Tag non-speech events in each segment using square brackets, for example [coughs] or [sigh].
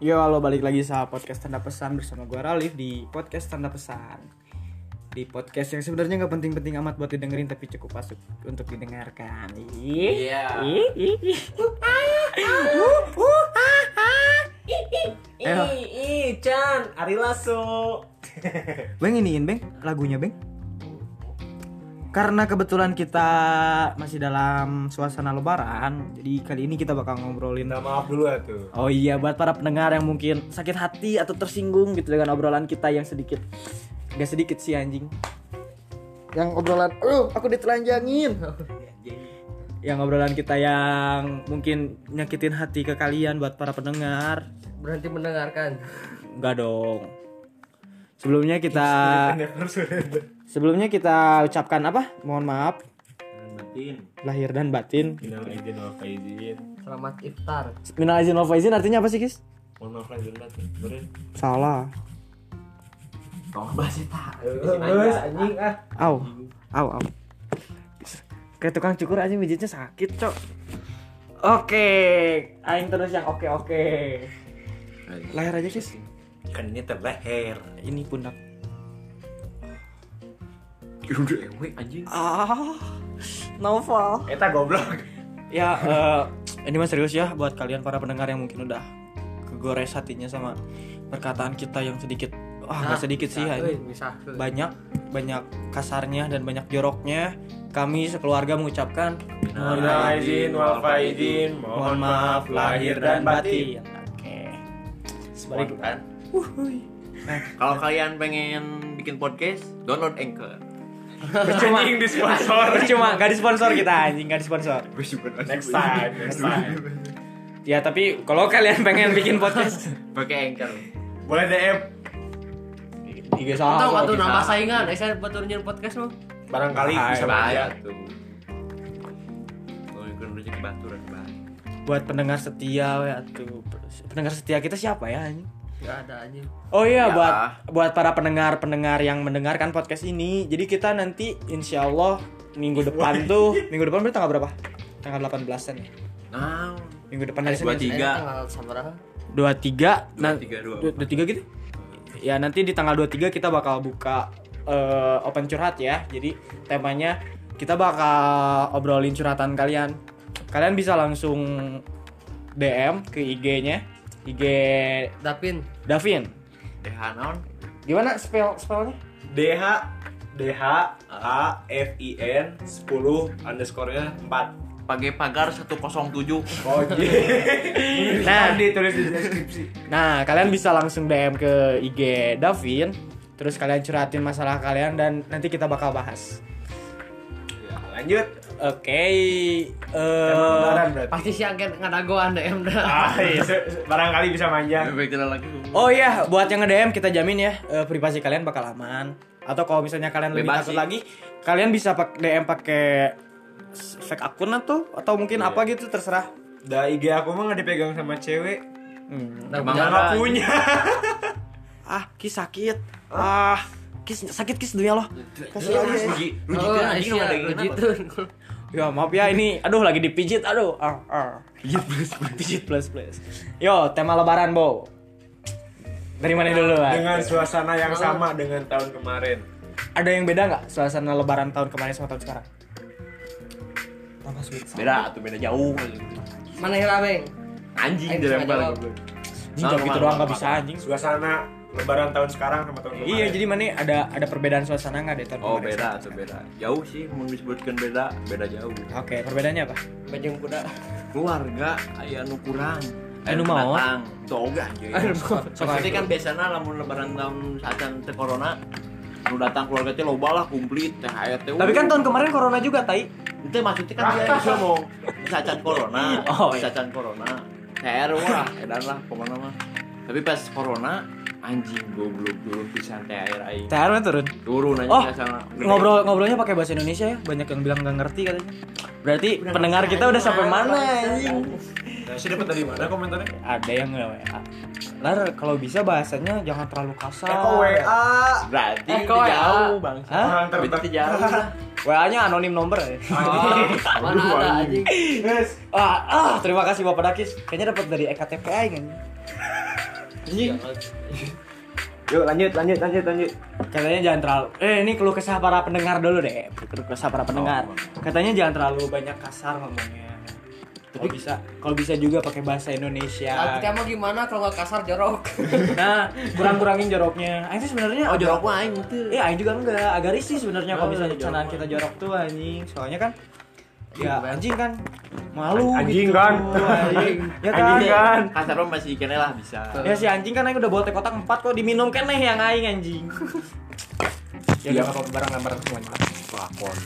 Yo, lo balik lagi sama podcast tanda pesan bersama gua Ralif di podcast tanda pesan. Di podcast yang sebenarnya nggak penting-penting amat buat didengerin tapi cukup masuk untuk didengarkan. Ih, Iya. ih, ih, ih. Uh, uh, ah, ah. Eh. Ayo. Ih, ih, Chan, Ari Lasso. Beng iniin Beng lagunya Beng. Karena kebetulan kita masih dalam suasana lebaran, jadi kali ini kita bakal ngobrolin Minta maaf dulu ya tuh. Oh iya, buat para pendengar yang mungkin sakit hati atau tersinggung gitu dengan obrolan kita yang sedikit Gak sedikit sih anjing Yang obrolan, uh aku ditelanjangin Yang obrolan kita yang mungkin nyakitin hati ke kalian buat para pendengar Berhenti mendengarkan. Enggak dong Sebelumnya kita Never surrender. Sebelumnya kita ucapkan apa? Mohon maaf Batin. Lahir dan batin Minal izin wal faizin. Selamat iftar. Minal izin wal faizin artinya apa sih Kis? Mohon maaf lahir dan batin. Bener. Salah Tolong bahas ya, itu. Bos, anjing ah. Au, au, au. Kayak tukang cukur aja mijitnya sakit, Cok. Oke, aing terus yang oke oke. Lahir aja, Kis. Kan ini terleher. Ini pundak. Udah ewe anjing. Ah. Novel. Eta goblok. Ya, eh, ini mah serius ya buat kalian para pendengar yang mungkin udah kegores hatinya sama perkataan kita yang sedikit Wah, Ah, nggak sedikit sih ya ini. Bisa. Banyak banyak kasarnya dan banyak joroknya. Kami sekeluarga mengucapkan Minal izin wal faizin. Mohon maaf lahir dan batin. Oke. Spontan. kan? Nah, Kalau kalian pengen bikin podcast, download Anchor. Percuma di sponsor. Percuma gak di sponsor kita anjing, gak di sponsor. Next time. Next time. Ya, tapi kalau kalian pengen bikin podcast Pakai Anchor. Boleh DM. tiga Oh, Tahu salah. atau nama saingan? Eh, saya buat turunin podcast lu. Barangkali bisa bahaya bahaya. tuh. Oh, Kalau ikut rezeki baturan bahaya. Buat pendengar setia ya tuh. Pendengar setia kita siapa ya anjing? Gak ada anjing. Oh iya Ya. buat buat para pendengar-pendengar yang mendengarkan podcast ini. Jadi kita nanti insya Allah minggu depan tuh, minggu depan berarti tanggal berapa? Tanggal 18-an ya. Nah, Minggu depan hari Dua Senin. tiga. Eh, Tanggal sabaraha? 23 Dua tiga, dua dua- dua tiga gitu ya nanti di tanggal 23 kita bakal buka eh, open curhat ya jadi temanya kita bakal obrolin curhatan kalian kalian bisa langsung DM ke IG-nya IG Davin. Davin eh Hanon, gimana spell spellnya DH DH A F I N 10 underscore-nya 4. pakai pagar 107. Oh, Ojek. [laughs] nah Ditulis iya. di deskripsi. Nah, kalian bisa langsung DM ke IG Davin, terus kalian curhatin masalah kalian dan nanti kita bakal bahas. Ya, lanjut. Oke, Kan Emang eh lebaran berarti. Pasti si Angket ngadagoan [laughs] DM dah. Ah, iya, se- se- barangkali bisa manjang. Lebih baik tidak lagi. oh iya, buat yang nge-DM kita jamin ya eh, privasi kalian bakal aman. Atau kalau misalnya kalian lebih takut Bebas sih. lagi, kalian bisa pak DM pakai s- fake akun atau atau mungkin apa gitu terserah. Da IG aku mah nggak dipegang sama cewek. Hmm. Nah, Emang jangan. ada. Nggak punya. Ah, kis sakit. Ah, kis sakit kis dunia loh. Kasih aja. Rugi, rugi Oh, kan eh, anjing sia, sama ada rugi gitu. tuh. Ya maaf ya ini, aduh lagi dipijit, aduh. Ah, ah. Pijit plus plus. Pijit plus plus. Yo, tema lebaran, Bo. Dari mana dulu, Bang? Dengan suasana yang sama dengan tahun kemarin. Ada yang beda nggak suasana lebaran tahun kemarin sama tahun sekarang? Apa sulit? Beda tuh beda jauh. Mana Hira, Beng? Anjing Ayo, dilempar bisa lagi. Ini jawab gitu doang nggak bisa anjing. Suasana lebaran tahun sekarang sama tahun kemarin. Iya, jadi mana ada ada perbedaan suasana nggak dari tahun Oh, kemarin? beda tuh beda. Jauh sih mau disebutkan beda, beda jauh. Oke, perbedaannya apa? Bajeng kuda. keluarga aya nu kurang Aya nu maot. datang toga Iya, anjing tapi kan biasanya lamun lebaran tahun saatan teh corona nu datang keluarga teh loba lah kumplit THR teh Tapi kan tahun kemarin corona juga, tai. itu maksudnya kan [laughs] dia bisa mau saatan corona Oh, iya. saatan corona THR wah edan lah pokoknya mah tapi pas corona anjing goblok turun pisan THR aing Taruh turun. turun Oh, aja sama ngobrol ngobrolnya pakai bahasa Indonesia ya. Banyak yang bilang nggak ngerti katanya. Berarti pendengar kita udah sampai mana anjing? Nah, sih dapat dari mana komentarnya? ada yang nge WA. Lar kalau bisa bahasanya jangan terlalu kasar. Eko WA. berarti Eh, itu kau ya. jauh bang Hah? Orang berarti terdekat. itu jauh [laughs] lah. WA-nya anonim nomor [laughs] ya. Ah, Mana ada anjing? Guys, E ah, ah, terima kasih Bapak Dakis. Kayaknya dapat dari EKTP aing. anjing. Yuk lanjut lanjut lanjut lanjut. Katanya jangan terlalu. Eh ini keluh kesah para pendengar dulu deh. Keluh kesah para pendengar. Katanya jangan terlalu banyak kasar ngomongnya. Kalau bisa, kalau bisa juga pakai bahasa Indonesia. Nah, Saat kan- kamu gimana kalau nggak kasar jorok? Nah, kurang-kurangin joroknya. Aing sih sebenarnya [laughs] Oh agak- jorok mah aing gitu. Iya, aing juga enggak. Agak risih sebenarnya kalau Oh, misalnya jorok bercandaan mah. kita jorok tuh anjing. Soalnya kan ya anjing kan malu Anjing gitu. kan. Anjing. Ya kan? Anjing kan. Iya, Kasar mah masih kene lah bisa. Ya si anjing kan aing udah bawa teh kotak 4 kok diminum keneh yang aing anjing. ya Iya. udah apa barang gambar semuanya. Lakon.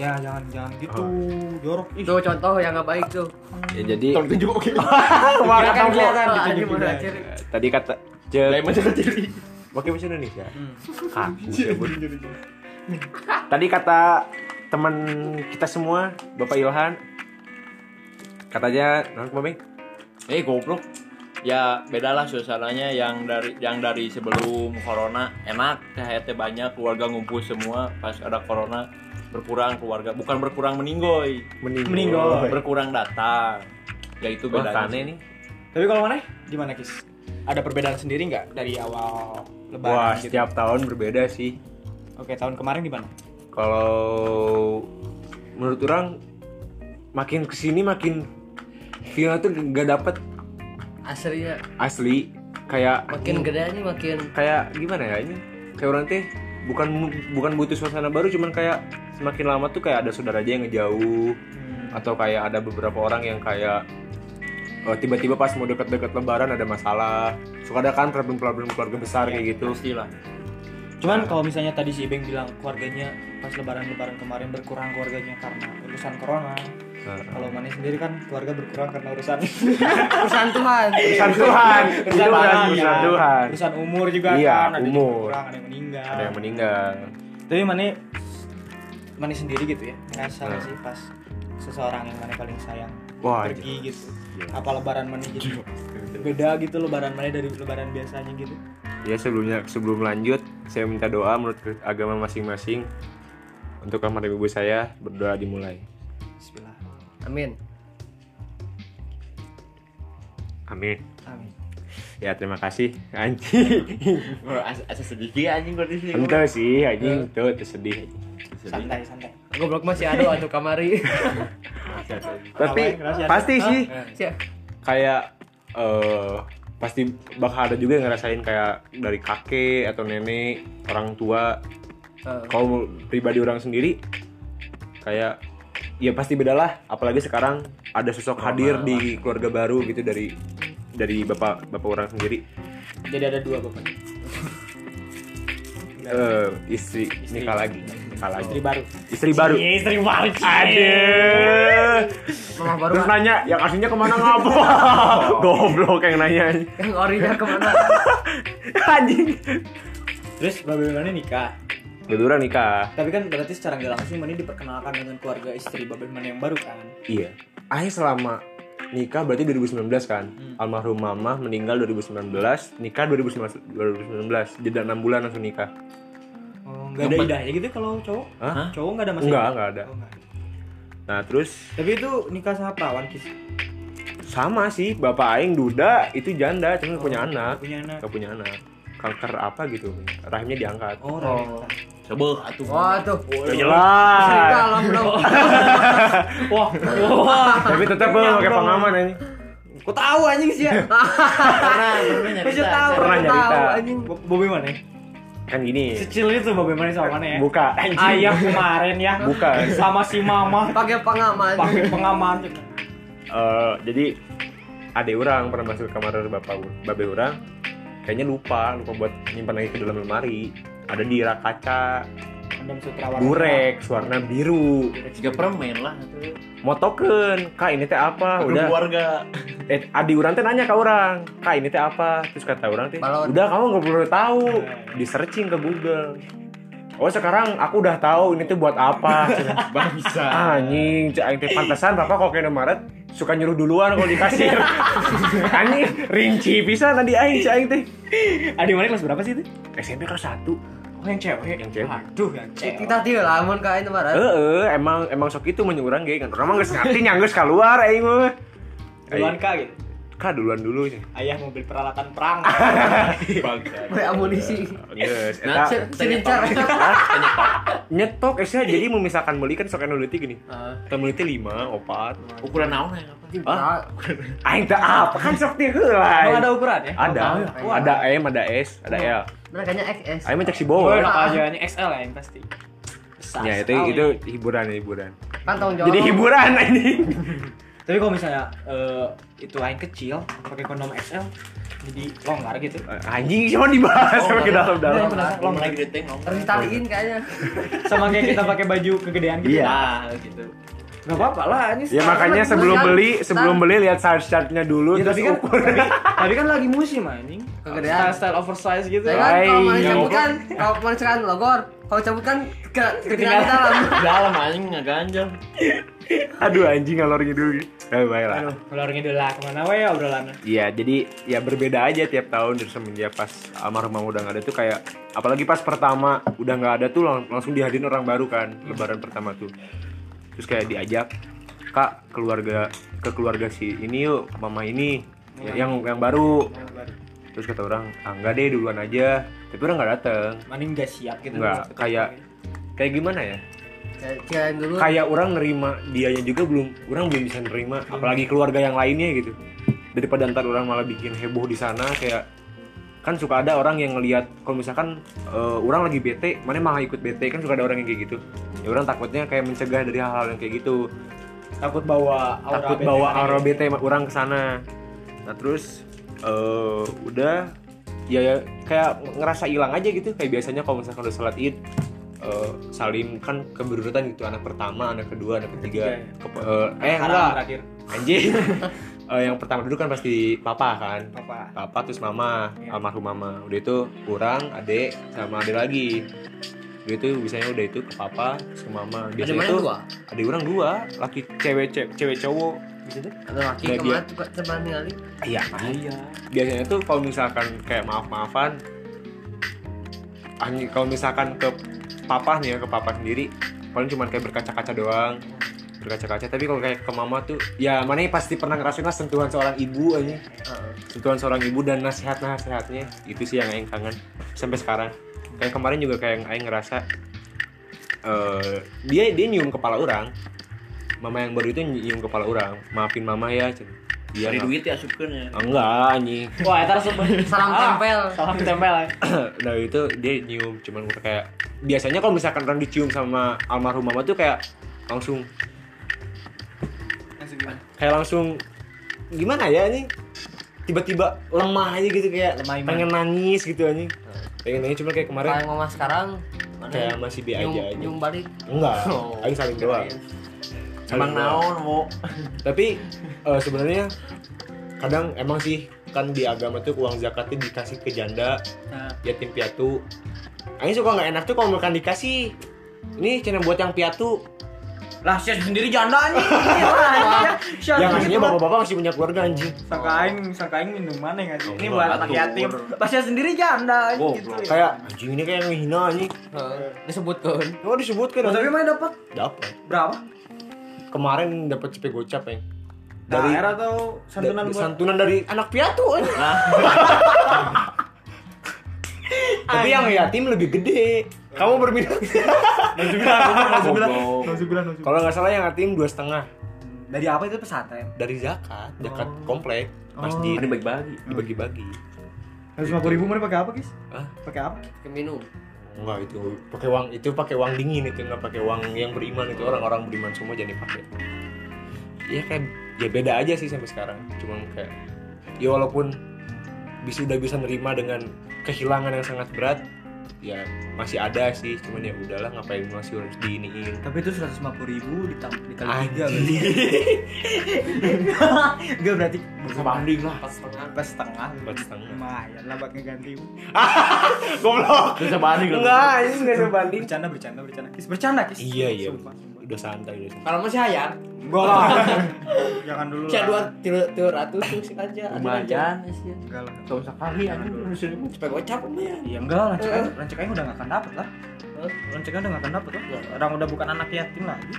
Ya jangan jangan gitu. Oh. Jorok ih. Tuh contoh yang nggak baik tuh. ya jadi Tolong tunjuk oke. Kemarin kan kelihatan Ah, ditunjukin anjing mana aja. ciri? tadi kata Lain cek macam kecil. pakai bahasa Indonesia Hmm. kaku cabut. tadi kata teman kita semua bapak Ilhan katanya non Bang? Eh goblok. Ya bedalah suasananya yang dari yang dari sebelum corona enak THT banyak keluarga ngumpul semua pas ada corona berkurang keluarga bukan berkurang meninggoy meninggal Meninggal. Wah, berkurang datang ya itu bedanya kane nih Tapi kalau mana? Gimana, Kis? Ada perbedaan sendiri nggak dari awal lebaran wah gitu? setiap tahun berbeda sih Oke, tahun kemarin gimana? kalau menurut orang makin kesini makin Vina tuh gak dapet Aslinya asli kayak makin gede nih makin kayak gimana ya ini kayak orang teh bukan bukan butuh suasana baru cuman kayak semakin lama tuh kayak ada saudara aja yang ngejauh Hmm. atau kayak ada beberapa orang yang kayak eh, tiba-tiba pas mau deket-deket lebaran ada masalah suka ada kan problem-problem keluarga besar kayak gitu pastilah Cuman kalau misalnya tadi si Ibeng bilang keluarganya pas lebaran-lebaran kemarin berkurang keluarganya karena urusan corona. Iya. Kalau Mane sendiri kan keluarga berkurang karena urusan urusan Tuhan. urusan Tuhan itu urusan barang, urusan ya. Tuhan Urusan umur juga Iya, kan, ada yang umur. berkurang, ada yang meninggal. ada yang meninggal Tapi Mane Mane sendiri gitu ya. Ngerasa nggak sih pas seseorang yang Mane paling sayang Wah, pergi gitu. Apa lebaran Mane jadi beda gitu lebaran Mane dari lebaran biasanya gitu. Ya sebelumnya sebelum lanjut saya minta doa menurut ke- agama masing-masing untuk kamar ibu saya berdoa dimulai. Bismillah. Amin. Amin. Amin. Ya terima [laughs] kasih anjing. Bro, as- asa sedikit anjing gue di sini. Ente sih anjing tuh tersedih. Santai, santai. Goblok masih ada atuh kamari. Tapi pasti sih Sia. kayak eh pasti bakal ada juga yang ngerasain kayak dari kakek atau nenek orang tua Eh, kalau pribadi orang sendiri kayak ya pasti beda lah apalagi sekarang ada sosok hadir di keluarga baru gitu dari dari bapak bapak orang sendiri Jadi ada dua bapak. Eh, istri, nikah lagi nikah lagi Istri baru. istri baru Iya, istri baru. aduh Mama baru terus nanya yang aslinya kemana [laughs] ngapa goblok yang nanya yang ya, orinya kemana? [laughs] anjing Terus babe Mane nikah. Betul nikah Tapi kan berarti secara nggak langsung Mane diperkenalkan dengan keluarga istri babe Mane yang baru kan. iya akhirnya selama nikah berarti 2019 kan Hmm. almarhum mamah meninggal 2019 nikah 2019 2019 jeda 6 bulan langsung nikah Oh, nggak ada idahnya gitu kalau cowok? Hah? Cowok nggak ada masalah. Enggak, enggak ada. Oh, nggak. Nah, terus Tapi itu nikah sama perawan kis. sama sih bapak aing duda itu janda cuma nggak punya Oh. anak. Punya anak. Enggak punya anak. Kanker apa gitu. Rahimnya diangkat. Oh, Oh. oh. Coba atuh. Wah tuh. Ya jelas. Serigala belum. [laughs] Wah, wah. Iya, Tapi tetap gue pakai pengaman ini. Kok tahu anjing sih Iya, [laughs] ya? ah, Pernah, pernah nyari. Bisa tahu. Pernah kok nyarita. Tahu anjing. Bo- Bobi mana? Kan gini. Secil itu Bobi mana sama mana ya? Buka. Ayah kemarin ya. Bukan. Sama si mama Pakai pengaman. pakai pengaman. Eh, jadi adek orang pernah masuk ke kamar bapak babe orang kayaknya lupa lupa buat nyimpan lagi ke dalam lemari ada di rak kaca Kondom sutra warna. burek warna biru Jika permen lah atuh. motoken kak ini teh apa udah keluarga. eh adi urang teh nanya ke orang kak ini teh apa terus kata orang teh Balon. udah kamu nggak perlu tahu Eh. di searching ke Google oh sekarang aku udah tahu ini teh buat apa [laughs] Ah, Bangsa. anjing cek aing teh pantesan bapak kok kena Maret suka nyuruh duluan kalau di [laughs] kasir anjing rinci bisa tadi aing cek aing teh Adik Ah, mana kelas berapa sih itu? SMP kelas satu Oh, yang cewek. Yang cewek. Aduh, yang cewek. Kita tieu lamun ka Eh, itu barat. eh, emang emang sok itu menyurang ge kan. Orang mah geus ngerti nyanggeus keluar aing mah. Duluan kak gitu. nikah duluan dulu ya. Ayah mau beli peralatan [laughs] perang. Beli amunisi. Eh, Geus, Nah, eta Senincar. nyetok esnya jadi mau misalkan beli kan sok anu leutik gini. Eh, Tamu leutik 5 opat. Ukuran naon ya? Nah, Ah, aing teh apa kan sok teh Oh, heula. ada ukuran ya? Ada. Tahu. Oh, ada M, ada S, ada L. Nah, kayaknya XS. Aing mah cek si Oh, bawah. enak aja ini XL ya yang pasti. Ya itu itu hiburan hiburan. Kan tanggung jawab. Jadi hiburan ini. Tapi kalau misalnya eh, itu lain kecil pakai kondom XL jadi longgar gitu. Anjing cuma dibahas sampai ke dalam-dalam. Ya, Lo mulai gede teng, Harus ditaliin kayaknya. Sama kayak [laughs] kita pakai baju kegedean gitu. Iya. Nah, gitu. Gak apa-apa lah ini. Ya makanya sebelum beli sebelum beli lihat size chartnya dulu Ya, terus tapi kan ukur. [laughs] tapi, tapi kan lagi musim anjing. Kegedean. Style ya. style oversize gitu. Saya kan kalau manis Hai, cabut ya. kan, kalau manis kan logor, kalau cabut kan ke ketinggalan di dalam. Dalam anjing ngeganjel. Aduh anjing ngalor ngidul. Eh baiklah. Aduh, keluar ngidul lah kemana ya we obrolannya. Iya, jadi ya berbeda aja tiap tahun dari semenjak pas almarhumah udah nggak ada tuh kayak apalagi pas pertama udah nggak ada tuh lang- langsung dihadirin orang baru kan lebaran pertama tuh. Terus kayak diajak kak keluarga ke keluarga si ini yuk mama ini Ya, yang yang baru. Terus kata orang ah, nggak deh duluan aja tapi orang nggak dateng Mending gak siap gitu. nggak kayak kayak gimana ya Kayak Kirain dulu. kayak orang nerima dianya juga belum orang belum bisa nerima apalagi keluarga yang lainnya gitu daripada ntar orang malah bikin heboh di sana kayak kan suka ada orang yang ngelihat kalau misalkan eh, orang lagi bete mana malah ikut bete kan suka ada orang yang kayak gitu ya orang takutnya kayak mencegah dari hal-hal yang kayak gitu takut bawa aura takut bete bawa mana aura gitu. bete ma- orang ke sana nah terus eh, udah ya, ya kayak ngerasa hilang aja gitu kayak biasanya kalau misalkan udah sholat id eh, salim kan keberurutan gitu anak pertama anak kedua anak ketiga Ke- eh, Karena eh enggak Iya. terakhir [laughs] anjing Eh, yang pertama dulu kan pasti papa kan apa? papa terus mama Iya. almarhum mama udah itu kurang adek sama adek lagi udah itu biasanya udah itu ke papa terus ke mama Ada biasanya mana itu dua? ada orang dua laki cewek cewek, cewek cowok gitu Ada laki Kayak kemana tuh teman ngali? iya biasanya tuh kalau misalkan kayak maaf maafan anjing kalau misalkan ke papa nih ya ke papa sendiri paling cuman kayak berkaca-kaca doang berkaca-kaca tapi kalau kayak ke mama tuh ya mana pasti pernah ngerasain lah sentuhan seorang ibu aja sentuhan seorang ibu dan nasihat-nasihatnya itu sih yang Aing kangen sampai sekarang kayak kemarin juga kayak yang Aing ngerasa eh, dia dia nyium kepala orang mama yang baru itu nyium kepala orang maafin mama ya cen. dia Dari nggak- duit ya supkeun ya. enggak anjing [clears throat] Wah, itu [laughs] harus Salam Ah. tempel. Salam tempel ya. nah itu dia nyium cuman gua kayak biasanya kalau misalkan orang dicium sama almarhum mama tuh kayak langsung kayak langsung gimana ya ini tiba-tiba lemah aja gitu kayak Lemah iman. pengen nangis gitu anjing pengen nangis cuman kayak kemarin Kayak mama sekarang mana? kayak masih be aja Nyum, aja nyum balik. enggak Oh. aing saling doang Emang Saling doang. naon mau tapi eh, sebenarnya kadang emang sih kan di agama tuh uang zakatnya dikasih ke janda yatim piatu Aing suka nggak enak tuh kalau makan dikasih ini cina buat yang piatu Lah, saya sendiri janda anjing. Iya, yang aslinya bapak-bapak masih punya keluarga anjing Sangka aing, sangka aing minum mana ya? Ini Enggak, buat anak atur. yatim. Pas saya sendiri janda anjing gitu. ya. Goblok. kayak anjing ini kayak ngehina anjing Heeh. Disebutkan. oh disebutkan Oh, tapi anjing. mana dapat dapat berapa? kemarin dapat cepet gocap ya Dari era atau santunan da- buat santunan dari Ah. anak piatu anjing tapi yang yatim lebih gede kamu berminat Goblok. kalau nggak salah yang yatim dua setengah dari apa itu pesantren? dari zakat zakat komplek masjid Ini bagi-bagi. dibagi-bagi 150 ribu mana pakai apa, guys? Hah? Pakai apa? Minum. Enggak itu pakai uang itu pakai uang dingin itu enggak pakai uang yang beriman itu orang-orang beriman semua jadi pakai. Ya kayak ya beda aja sih sampai sekarang. Cuman kayak ya walaupun bisa udah bisa nerima dengan kehilangan yang sangat berat ya masih ada sih cuman ya udahlah ngapain masih harus diiniin Tapi itu 150 ribu ditambah dikali tiga [laughs] berarti. anjing Enggak berarti sebanding lah Pas setengah. pas setengah. Pas setengah. Lumayan lah buat ngeganti. goblok Terus sebanding lu. enggak ini enggak sebanding Bercanda, bercanda, bercanda. Kis bercanda, kis. iya iya Sumpah, sumpah. udah santai udah santai Kalau masih hayang, Enggak lah. [laughs] Jangan dulu. cek lah. dua tiga tiga ratus tuh sih aja. Lumayan sih. Enggak lah. Enggak usah kali anjing. Seribu. Cepet gocap ya. Ya enggak lah, lancek aja, lancek aja udah gak akan dapet lah Lancek aja udah gak akan dapet lah Orang udah bukan anak yatim lagi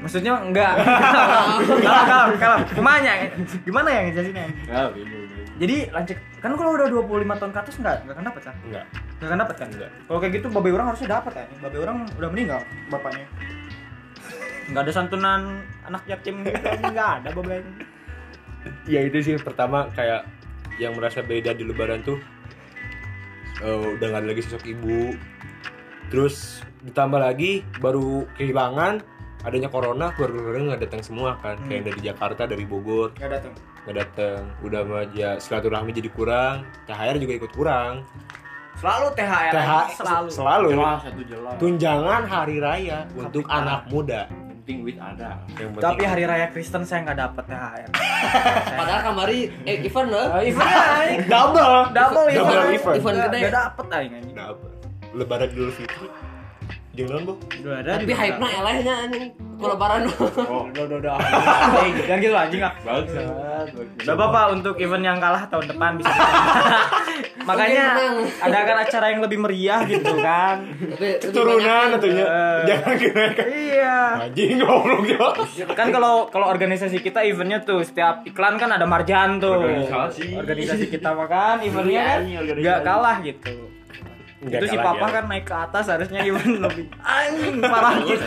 Maksudnya enggak. Kalau kalau kalau gimana ya? Gimana ya ngejelasinnya? Ya, bingung. Jadi lanjut kan kalau udah 25 tahun ke atas enggak enggak akan dapat kan? Enggak. Enggak akan dapat kan? Enggak. Kalau kayak gitu babe orang harusnya dapat ya. Babe orang udah meninggal bapaknya. Enggak ada santunan anak yatim gitu. Enggak ada babe. ya itu sih pertama kayak yang merasa beda di lebaran tuh eh, udah gak ada lagi sosok ibu terus ditambah lagi baru kehilangan adanya corona keluarga-keluarga nggak datang semua kan kayak dari Jakarta dari Bogor Enggak datang. nggak datang udah mah ya silaturahmi jadi kurang THR juga ikut kurang Selalu THR. THR selalu. selalu Jelas, itu jelas. tunjangan hari raya untuk anak muda Penting duit ada. yang penting Tapi ah. hari raya Kristen saya enggak dapat THR. Saya- Padahal kemarin eh event loh. Event double double event. Double Double event. Iya, Event gede. Enggak dapat aing Iya. anjing. double lebaran Idul Fitri jangan boh Udah ada Tapi ya. juga. hype-nya elehnya anjing. Kalau lebaran Oh, udah udah udah. Anjing, Jangan gitu lah, anjing ah. Bagus. Gak apa-apa untuk event yang kalah tahun depan bisa. Makanya Mungkin menang. adakan acara yang lebih meriah gitu kan. Tapi- tapi turunan [laughs] banyak tentunya Eh. jangan kenaikan iya. anjing goblok ya Kan kalau kalau organisasi kita eventnya tuh setiap iklan kan ada marjan tuh. Organisasi. Organisasi kita makan eventnya kan Iya, organisasi. nggak kalah gitu. itu si papa iya. kan naik ke atas harusnya event lebih anjing parah gitu.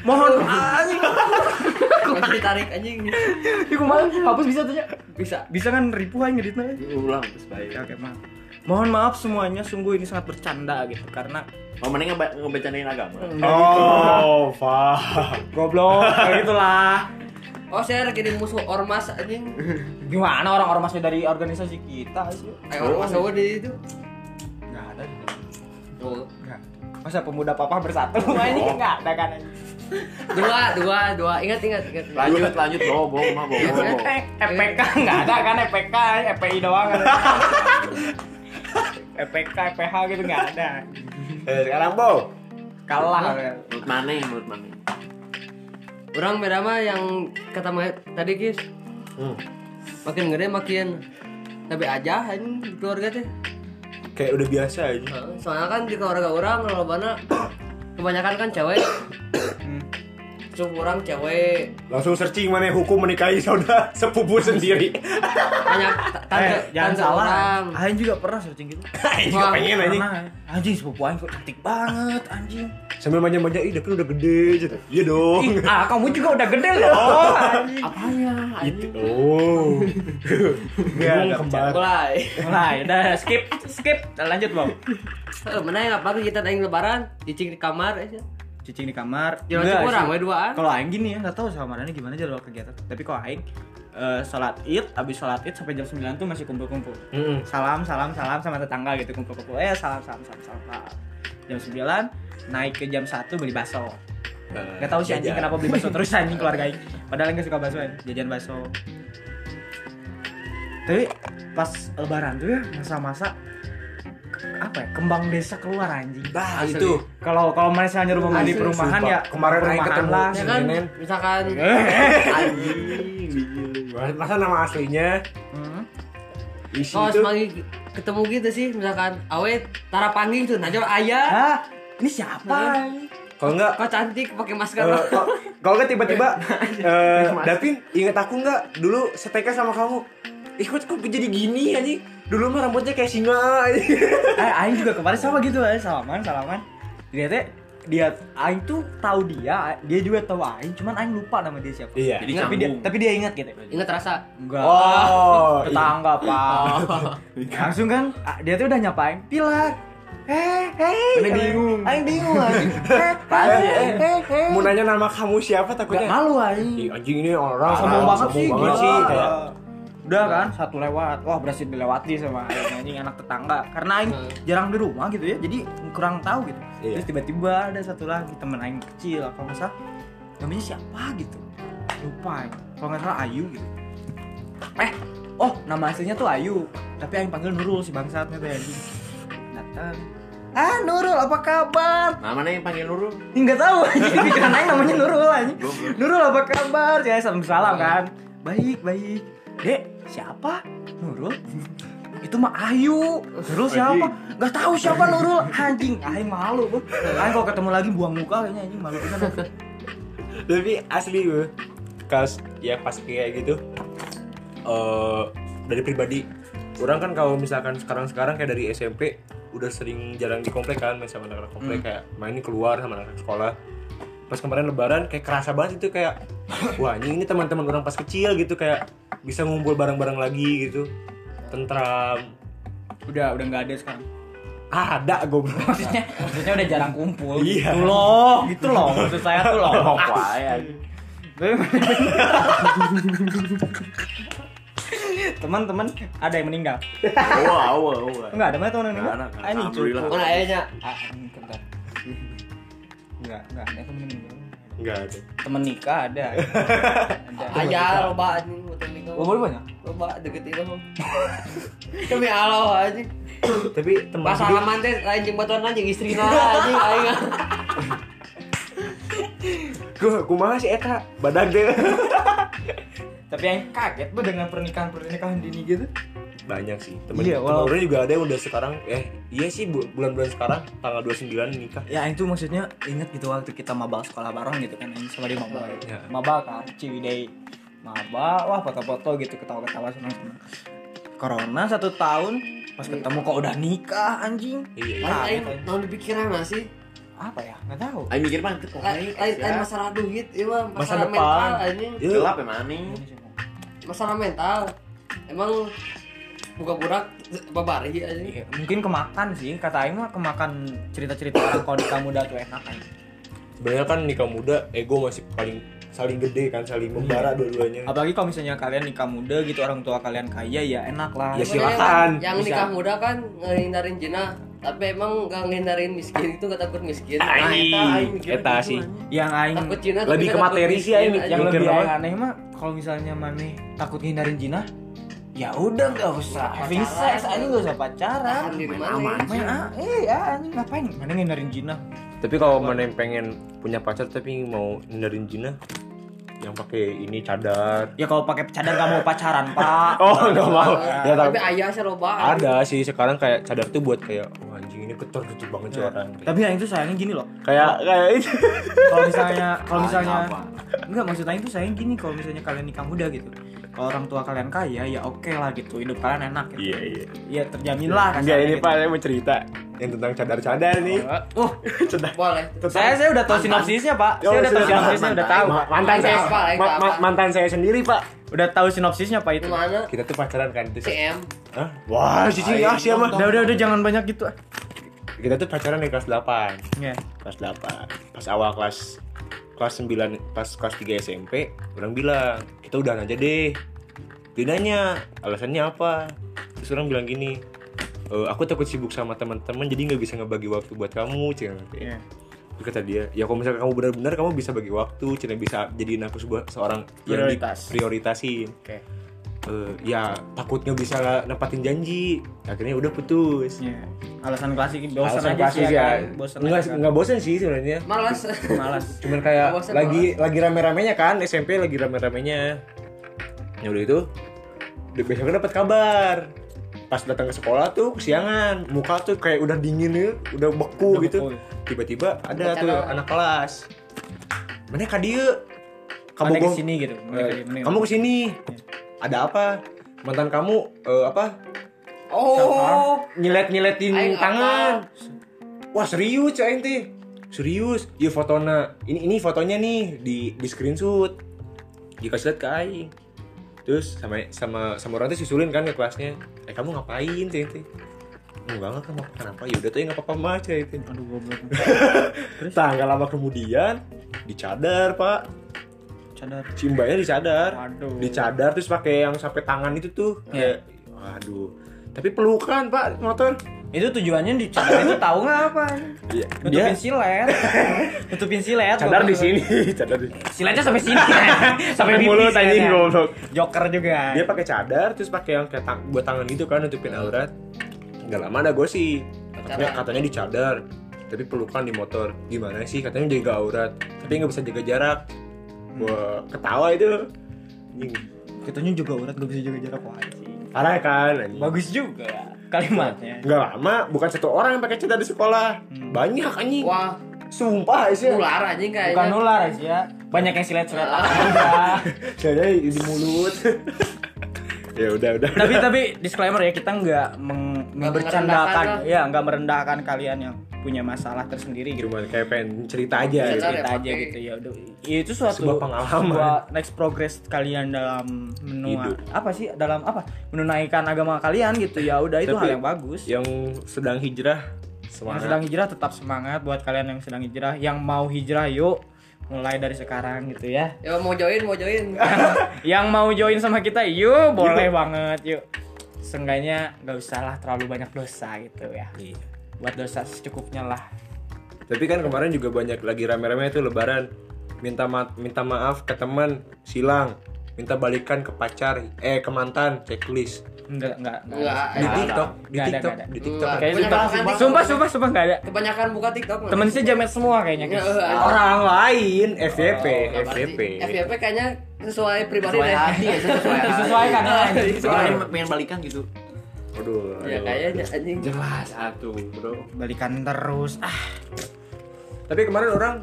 Mohon anjing. yang- Masih ditarik anjing. [laughs] Ih, kumaha hapus bisa tuh ya. Bisa. Bisa kan ribu aing ngeditna. Ulang, terus baik. Oke, Ya, oke, maaf. Mohon maaf semuanya, sungguh ini sangat bercanda gitu karena Mau mending ngeba- ngebecanain agama. oh paham goblok kayak gitulah. Oh, saya lagi di musuh ormas anjing. Gimana orang ormasnya dari organisasi kita sih? Eh ormas apa di itu? Enggak ada. Oh. Enggak. Masa pemuda papa bersatu [laughs] ini enggak ada kan? Dua, dua, dua. Ingat, ingat, ingat. Lanjut, lanjut, bawa, bawa, mah, bawa, Oh. Eh, bawa. EPK enggak ada kan EPK, EPI doang. [laughs] ada. EPK, EPH gitu enggak ada. eh sekarang bo Kalah. Menurut mana, ya, menurut mana? Orang beda mah yang kata ma- tadi guys. Hmm. Makin gede makin tapi aja anjing di keluarga teh. kayak udah biasa aja Heeh, Soalnya kan di keluarga orang lolobana kebanyakan kan cewek. Cukup orang cewek langsung searching mana hukum menikahi saudara [laughs] sepupu sendiri banyak ta- tante, Eh, jangan tante salah. orang. Aing juga pernah searching gitu. Aing juga Wah, pengen [laughs] anjing Pernah. Nah, Anjing sepupu aing kok cantik banget anjing. sambil manja-manja ih Davin udah gede gitu iya dong Ih, ah kamu juga udah gede [laughs] loh. anjing. Apanya? gitu [laughs] oh bingung kembar Mulai. Mulai, Nah, ya udah skip, skip, Udah lanjut bang. Eh, Mana yang apa kita aing lebaran? Cicing di kamar eh, aja. Cicing di kamar. Jalan Enggak Ya, kurang sih. we duaan. Kalau Aing gini ya, nggak tahu sama Marani gimana jadwal kegiatan. Tapi kalau Aing eh, sholat id, abis sholat id sampai jam 9 tuh masih kumpul-kumpul. Mm-mm. Salam, salam, salam sama tetangga gitu kumpul-kumpul. Eh salam, salam, salam, salam. salam. Jam 9 naik ke jam 1 beli bakso. Eh, Gak tahu sih anjing Jajan. kenapa beli bakso terus anjing keluarga Aing. Padahal enggak suka bakso, Aing. jajan bakso. Tapi pas lebaran tuh ya masa-masa apa ya, kembang desa keluar anjing. bah gitu. Asli. itu Kalau kalau misalnya rumah mandi Asli, perumahan sumpah. ya Kemarin Aing perumahan ketemu. lah. Ya kan, Senen. misalkan Eh. masa nama aslinya Hmm. Gitu. isi oh itu semanggi ketemu gitu sih misalkan awet tara panggil tuh najor ayah. Hah? Ini siapa? Iya. kalau enggak Kau cantik pakai masker. Eh, kok- Kalau nggak [laughs] tiba-tiba eh, Davin inget aku nggak dulu seteka sama kamu Ih kok, kok jadi gini aja Dulu mah rambutnya kayak singa aja Eh, Aing juga kemarin sama gitu aja salaman salaman. Dilihatnya dia Aing tuh tahu dia, dia juga tahu Aing, cuman Aing lupa nama dia siapa. [laughs] Iya Jadi tapi dia, nyambung. tapi dia ingat gitu. Ingat rasa. Enggak. Oh, tetangga pak. [laughs] Langsung kan ah, dia tuh udah nyapain Pilar. Eh, eh. Mana bingung. Aing bingung [laughs] anjing. Eh, pasti. Eh, eh, eh. Mau nanya nama kamu siapa Gak takutnya malu Aing. Ih anjing ini orang sombong banget sih, sombong gila. banget sih kayak, udah kan satu lewat wah berhasil dilewati sama Aing, anjing anak tetangga karena aing Hmm. jarang di rumah gitu ya jadi kurang tahu gitu Iya. terus tiba-tiba ada satu lagi temen aing kecil apa nggak salah namanya siapa gitu lupa aing kalau nggak salah Ayu gitu eh oh nama aslinya tuh Ayu tapi aing panggil Nurul si bangsatnya tuh anjing datang ah Nurul apa kabar Nah, mana yang panggil Nurul? Ih, nggak tahu anjing pikiran aing namanya Nurul anjing. Nurul apa kabar? Ya salam salam kan. Baik, baik. Dek, siapa? Nurul? Itu mah Ayu. Nurul siapa? Nggak tahu siapa Nurul. Anjing, aing malu, Bro. Aing kalau ketemu lagi buang muka kayaknya anjing malu banget. tapi asli gue kas ya pas kayak gitu eh dari pribadi orang kan kalau misalkan sekarang-sekarang kayak dari SMP udah sering jarang di komplek kan main sama anak-anak komplek kayak main keluar sama anak-anak sekolah pas kemarin lebaran kayak kerasa banget itu kayak wah anjing, ini teman-teman orang pas kecil gitu kayak bisa ngumpul bareng-bareng lagi gitu tentram Udah, udah nggak ada sekarang. ah, ada goblok [laughs] maksudnya maksudnya udah jarang kumpul Iya. gitu loh gitu loh maksud saya tuh loh teman-teman ada yang meninggal Wah, wah, wah. enggak ada mana teman yang Nggak meninggal ada, Anjing, kan. Alhamdulillah. cukup. Mana ayahnya? Ah, ini bentar. enggak enggak ada teman yang meninggal enggak ada teman nikah [laughs] ada ada Aja loba anjing gitu." utang nikah. Oh, boleh banyak? Loba deket itu. Demi Allah anjing. tapi teman Pas gede- salaman teh lain jeung batuan anjing istrina anjing aing. Gue kumaha sih eta badag deh. tapi yang kaget bu dengan pernikahan pernikahan dini gitu Banyak sih. Temen, Iya, temen walau- orang juga ada yang udah sekarang eh iya sih bu- bulan-bulan sekarang tanggal 29 nikah. ya itu maksudnya inget gitu waktu kita mabal sekolah bareng gitu kan yang sama di mabal Ya. mabal kan Ciwidey mabal wah foto-foto gitu ketawa-ketawa senang-senang corona satu tahun pas ketemu kok udah nikah anjing Iya. Lain aing tahun dipikiran lah sih. apa ya nggak tahu Ayo mikir mah itu Lain lain ya. lain masalah duit, ieu mah Masa masalah depan. mental anjing. Iya. Gelap ya maning. Masalah mental. Emang buka burak babari Iya, anjing. mungkin kemakan sih kata Aing mah kemakan cerita-cerita orang kalau nikah muda tuh enak kan Sebenarnya kan nikah muda ego masih paling saling gede kan Iya. saling membara dua-duanya. apalagi kalau misalnya kalian nikah muda gitu orang tua kalian kaya ya enak lah Ya, Sebenarnya silakan. Yang Bisa. nikah muda kan ngehindarin jina, tapi emang gak ngehindarin miskin itu gak takut miskin. Nah, eta aing mikirnya Eta gitu, sih. anjing. yang Aing Takut jina Lebih tapi ke gak takut materi sih, aing miskin, yang Mikir lebih apa? aing aneh mah kalau misalnya maneh takut ngindarin zina ya udah nggak usah having Pacaran. sex aja nggak usah pacaran Tahan diri Main mana, aman. main ah eh ya anjing ngapain mana ngindarin zina Tapi kalau mana yang pengen punya pacar tapi mau hindarin zina yang pakai ini cadar. ya kalau pakai cadar nggak mau pacaran pak Nah. Oh, enggak mau. Ya tapi Tapi ayah sih loba. ada sih sekarang kayak cadar tuh buat kayak wah anjing ini ketor gitu banget sih orang. Iya. tapi yang itu sayangnya gini loh Kayak kayak itu. kalau misalnya kalau misalnya apa? enggak maksud Aing tuh sayang gini kalau misalnya kalian nikah muda gitu kalau orang tua kalian kaya ya oke lah gitu hidup kalian enak gitu Iya iya. ya terjamin lah Enggak kasarnya ini gitu. Pak saya mau cerita yang tentang cadar-cadar nih. [laughs] uh Boleh. saya saya udah tahu sinopsisnya pak saya udah tahu sinopsisnya udah tahu Ma- Mantan saya Apa, apa, ma- ma- apa? mantan saya sendiri, Pak. udah tahu sinopsisnya pak itu Gimana? Kita tuh pacaran kan itu. CM. Hah? Wah, cici ah siapa? udah udah udah jangan banyak gitu ah. Kita tuh pacaran di kelas 8. ya kelas 8 pas awal kelas kelas 9 pas kelas 3 SMP orang bilang kita udahan aja deh dia nanya alasannya apa terus orang bilang gini "E, aku takut sibuk sama teman-teman jadi nggak bisa ngebagi waktu buat kamu cina Iya. terus kata dia ya kalau misalkan kamu benar-benar kamu bisa bagi waktu cina bisa jadiin aku sebuah seorang yang Prioritas. diprioritasin Oke. Eh, ya takutnya bisa nepatin janji akhirnya udah putus Iya. alasan klasik bosan Alasan aja sih klasik ya ya kan? bosan nggak aja kan? nggak bosan sih sebenarnya Malas. malas cuman kayak Bosen, lagi lagi rame-ramenya kan SMP lagi rame-ramenya ya udah itu udah besoknya dapat kabar pas datang ke sekolah tuh kesiangan muka tuh kayak udah dingin ya udah beku Udah gitu beku. tiba-tiba ada Bacaan tuh orang. anak kelas mana kadieu kamu kamu ke sini gitu Mana ke- mana- Eh, kamu kesini ada apa mantan kamu eh, apa Oh. nyilet-nyiletin Aing tangan Wah serius ya ente Serius Iya fotona Ini ini fotonya nih Di, di screenshot Dikasih liat ke Aing Terus sama sama sama orang tuh susulin kan ke kelasnya Eh kamu ngapain sih ente Enggak enggak kamu kenapa ya udah tuh ya nggak apa-apa mah cah itu aduh goblok Tanggal lama kemudian dicadar pak cadar si mbaknya dicadar Waduh. dicadar terus pakai yang sampai tangan itu tuh Iya. kayak waduh tapi pelukan pak motor itu tujuannya di cadar itu tahu nggak apa Iya, tutupin [laughs] silet tutupin silet cadar di goblok. [laughs] sini cadar di sini siletnya sampai sini sampai [laughs] Sampai mulut anjing siletnya. goblok joker juga dia pakai cadar terus pakai yang kayak tang- buat tangan gitu kan nutupin aurat nggak lama ada gosip katanya Pacaran. katanya di cadar tapi pelukan di motor gimana sih katanya jaga aurat tapi nggak bisa jaga jarak wah ketawa itu Anjing. ketujuh juga urat gak bisa jaga jarak wah anjing. parah kan anjing. bagus juga kalimatnya Hmm. [laughs] nggak lama bukan satu orang yang pakai cadar di sekolah banyak anjing Wah, Sumpah sih. ular anjing kayaknya Bukan Iya. nular aja ya. Banyak yang silet-silet Saya di mulut. ya udah udah. [laughs] tapi tapi disclaimer ya kita nggak meng- membercandakan merendahkan ya nggak merendahkan kalian yang punya masalah tersendiri gitu [laughs] Cuma kayak pengen cerita aja. Cerita. kita aja Pakai- gitu ya udah itu suatu Sebuah pengalaman. sebuah next progress kalian dalam menua apa sih dalam apa menunaikan agama kalian gitu ya udah itu Tapi- hal yang bagus Yang sedang hijrah yang semangat. sedang hijrah tetap semangat buat kalian yang sedang hijrah yang mau hijrah yuk mulai dari sekarang gitu ya ya mau join mau join Eh. [laughs] yang mau join sama kita yuk boleh banget yuk Seenggaknya nggak usah lah terlalu banyak dosa gitu ya buat dosa secukupnya lah Tapi kan kemarin juga banyak lagi rame-rame itu lebaran. Minta ma- minta maaf ke teman, silang. Minta balikan ke pacar, eh ke mantan, checklist. enggak enggak Enggak, Di eh, TikTok, di Nggak ada, Tiktok, nggak ada. di Tiktok. Nggak. Kayaknya Banyak sumpah, sumpah, orang kan sumpah, TikTok. sumpah, sumpah, nggak ada. kebanyakan buka tiktok nggak? Temen sih jamet semua kayaknya, guys. Nggak, eh, Orang lain, Oh, FYP, nggak berarti. FYP. FYP kayaknya sesuai pribadi sesuai deh. hati ya sesuai hati Disesuaikan ya. anjing. Soalnya pengen balikan gitu Iya, Aduh. ya aduh. kayaknya anjing jelas satu bro Balikan terus. Ah, Tapi kemarin orang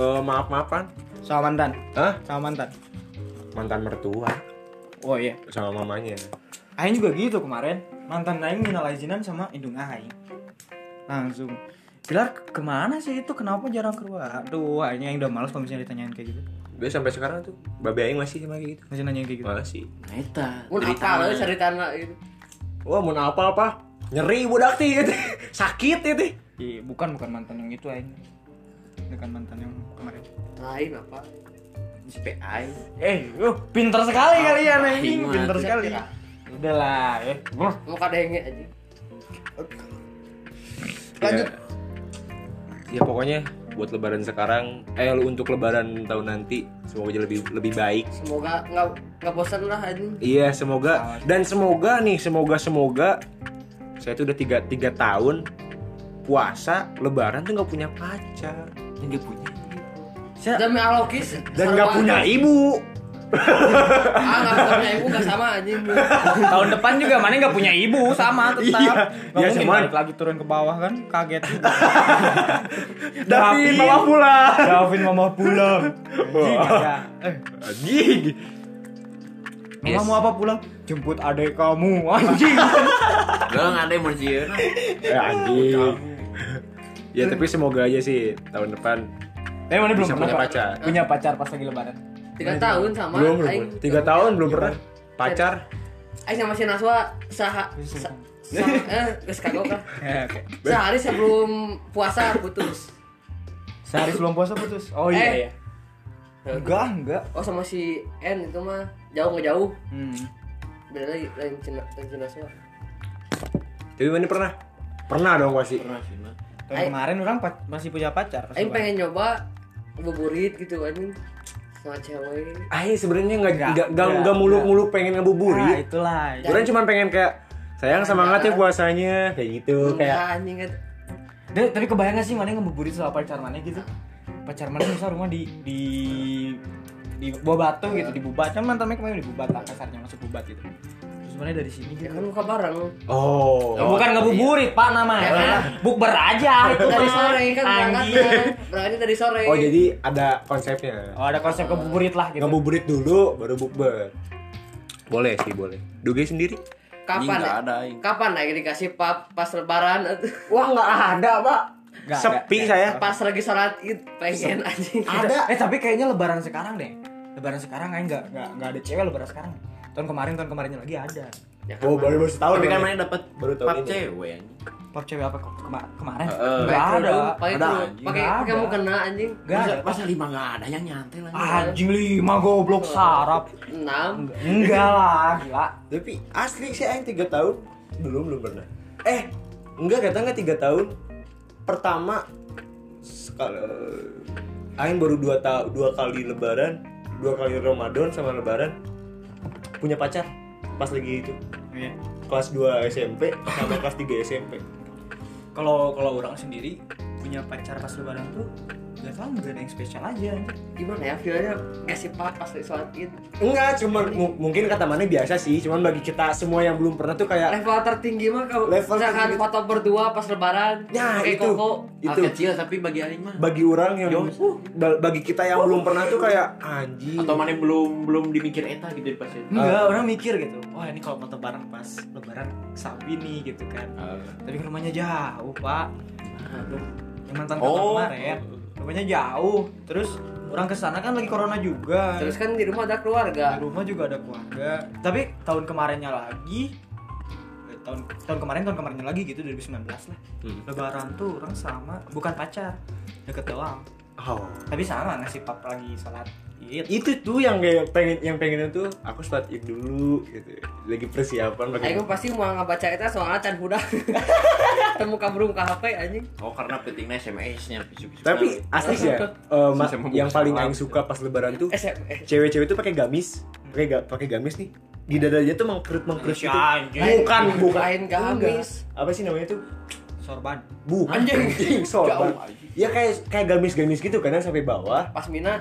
eh, maaf-maafan. sama mantan. Hah? Sama mantan. Mantan mertua Oh iya. sama mamanya. Aing juga gitu kemarin. Mantan aing minal izinan sama indung aing. Langsung. Pilar ke- kemana sih itu? Kenapa jarang keluar? Aduh, aing yang udah males kalau misalnya ditanyain kayak gitu. Dia sampai sekarang tuh babe aing masih sama kayak gitu. Masih nanya kayak gitu. Masih. Nah, Neta mun apa lo eh, cari tanah gitu Wah, mau apa apa? Nyeri budak ti itu. [laughs] Sakit ya, itu. Iya, bukan bukan mantan yang itu aing. Bukan mantan yang kemarin. lain apa si PI Eh, uh, pinter sekali kalian anjing, Aing mah. pinter sekali. Udahlah, eh. mau kadenge anjing Lanjut. Ya, pokoknya buat lebaran sekarang, eh lu untuk lebaran tahun nanti semoga aja lebih lebih baik. semoga nggak nggak bosan lah anjing Iya, semoga dan semoga nih, semoga semoga saya tuh udah tiga, tiga tahun puasa lebaran tuh nggak punya pacar yang dia punya demi alokis dan nggak punya ibu ah nggak punya ibu nggak sama anjing tahun depan juga mana nggak punya ibu sama tetap Iya. Nggak Iya, mungkin cuman- balik lagi turun ke bawah kan kaget [laughs] Davin mama pulang Davin mama pulang Anjing, ada. Eh, Gigi. mama mau apa pulang jemput adek kamu anjing lo nggak ada yang mau [laughs] sieun, ah. Eh, anjing. ya tapi semoga aja sih tahun depan eh mana belum bisa pernah punya Pak? pacar. punya pacar pas lagi lebaran tiga tahun sama Belum belum. aing Tiga tahun belum pernah pacar. aing Eh, sama si Naswa saha sa, sa, eh geus kagok lah Eh, oke. sehari sebelum puasa putus sehari sebelum puasa putus oh iya Eh. iya enggak enggak oh sama si N itu mah jauh nggak jauh hmm. beda lagi lain Cina lain Cina semua Tapi mana pernah? Pernah dong pasti. Tahun Aing- kemarin orang pa- masih punya pacar pas Aing lebaran. pengen nyoba buburit gitu anjing sama cewek Ah, iya, sebenarnya nggak Nggak, nggak nggak nggak, nggak muluk-muluk pengen nah, ngebuburit. itulah Orang cuma pengen kayak sayang semangat ya puasanya kayak gitu kayak kayak anjing kan Dek, tapi kebayang gak sih mana ngebuburit sama pacar mana gitu? Pacar mana misal rumah di di di buah batu gitu, di bubat. Kan mantannya kemarin di bubat lah, kasarnya masuk bubat gitu. Terus mana dari sini gitu. ya kan buka bareng oh. Ya, bukan ngebuburit, Pak namanya. Bukber aja itu dari mah. sore kan berangkatnya Anjing. berangkatnya dari sore Oh, jadi ada konsepnya. Oh, ada konsep ngebuburit lah gitu. Ngebuburit dulu baru bukber. Boleh sih, boleh. Duge sendiri? Anjing, kapan nggak ya? ada aing kapan lagi dikasih pap pas lebaran [laughs] atuh. Wah, nggak ada, Pak. Nggak, Sepi nggak, saya. pas lagi sholat id pengen anjing Ada. Eh, tapi kayaknya lebaran sekarang deh. Lebaran sekarang aja nggak nggak nggak ada cewek lebaran sekarang. Tahun kemarin tahun kemarinnya lagi ada. Ya kan, Oh, baru baru setahun. tapi kan Bang. mana dapat Baru tahun pap ini. cewek anjing. Pop cewek apa ke- kema- kemarin? Heeh. Nggak ada. pakai Ada, kerudung, anjing. pakai Nggak pakai ada. mau kena anjing Nggak ada. Masa- masa lima nggak ada yang nyantai lagi Anjing lima goblok sarap. enam Enggak lah, gila. Tapi asli sih aing 3 tahun belum belum pernah. Eh, enggak kata enggak 3 tahun. Pertama sekali aing baru 2 tahun dua kali lebaran, dua kali Ramadan sama lebaran punya pacar pas lagi itu Iya. kelas 2 SMP sama kelas 3 SMP. Kalau kalau orang sendiri punya pacar pas lebaran tuh nggak tahu nggak ada yang spesial aja gimana ya feelnya nggak sih pak pas sholat id Enggak, cuman mu- mungkin kata mana biasa sih, cuman bagi kita semua yang belum pernah tuh kayak level tertinggi mah kalau Nah. Level misalkan tertinggi. foto berdua pas lebaran Nah, kayak itu. koko Itu. hal kecil tapi bagi aing mah bagi orang yang uh, ba- bagi kita yang belum pernah tuh kayak anjing. atau mana belum belum dimikir eta gitu di pasien Enggak, orang mikir gitu. Wah, ini kalau foto bareng pas lebaran sapi nih gitu kan. Ah. Tapi kan rumahnya jauh, Pak. Aduh, yang mantan kakak Oh. kemarin. Rumahnya jauh. Terus orang ke sana kan lagi corona juga. terus kan di rumah ada di keluarga rumah juga ada keluarga. Tapi tahun kemarinnya lagi eh, tahun tahun kemarin tahun kemarinnya lagi gitu 2019 lah. Lebaran tuh orang sama bukan pacar, deket doang. Oh. Tapi sama ngasih pap lagi salat Id. Itu tuh yang kayak pengen yang pengen tuh aku start it dulu gitu. Lagi persiapan pakai Aing mah pasti mau ngabaca itu soalnya can budak temu kabrum ke HP anjing oh karena pentingnya SMS nya pisu-pisu Tapi asli sih ya, eh, ma- Sama buku yang paling salam. aing suka pas lebaran tuh SMS cewek-cewek tuh pakai gamis, pakai ga- pakai gamis nih. Di dadanya tuh mengkerut mengkerut gitu. anjing. Bukan, bukan. lain gamis Enggak. Apa sih namanya tuh? Sorban. Bukan. Anjing. Anjing, sorban. Jauh, anjing. Ya kayak kayak gamis-gamis gitu kan yang sampai bawah. pas mina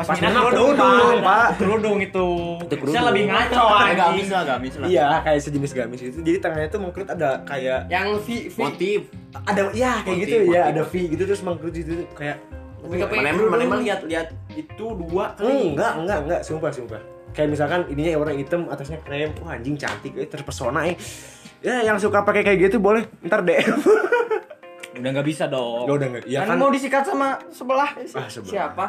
Pas minat minat kerudung, kerudung, Pak. Kerudung itu. Itu kerudung. Saya lebih ngaco Nah, anjing. gamis lah gamis lah Iya, kayak sejenis gamis itu. Jadi tangannya tuh mengkerut ada kayak yang V V motif ada ya kayak Motif, gitu ya, motif. ada V gitu terus mengkerut gitu kayak Tapi- mana mana emang lihat lihat itu dua kali enggak, enggak, enggak, sumpah, sumpah. Kayak misalkan ininya warna hitam, atasnya krem. Wah, anjing cantik, eh, terpesona eh. Ya, yang suka pakai kayak gitu boleh ntar DM. Udah nggak bisa dong. Gak udah enggak. Ya Kan, kan. mau disikat sama sebelah. Ah, sebelum. siapa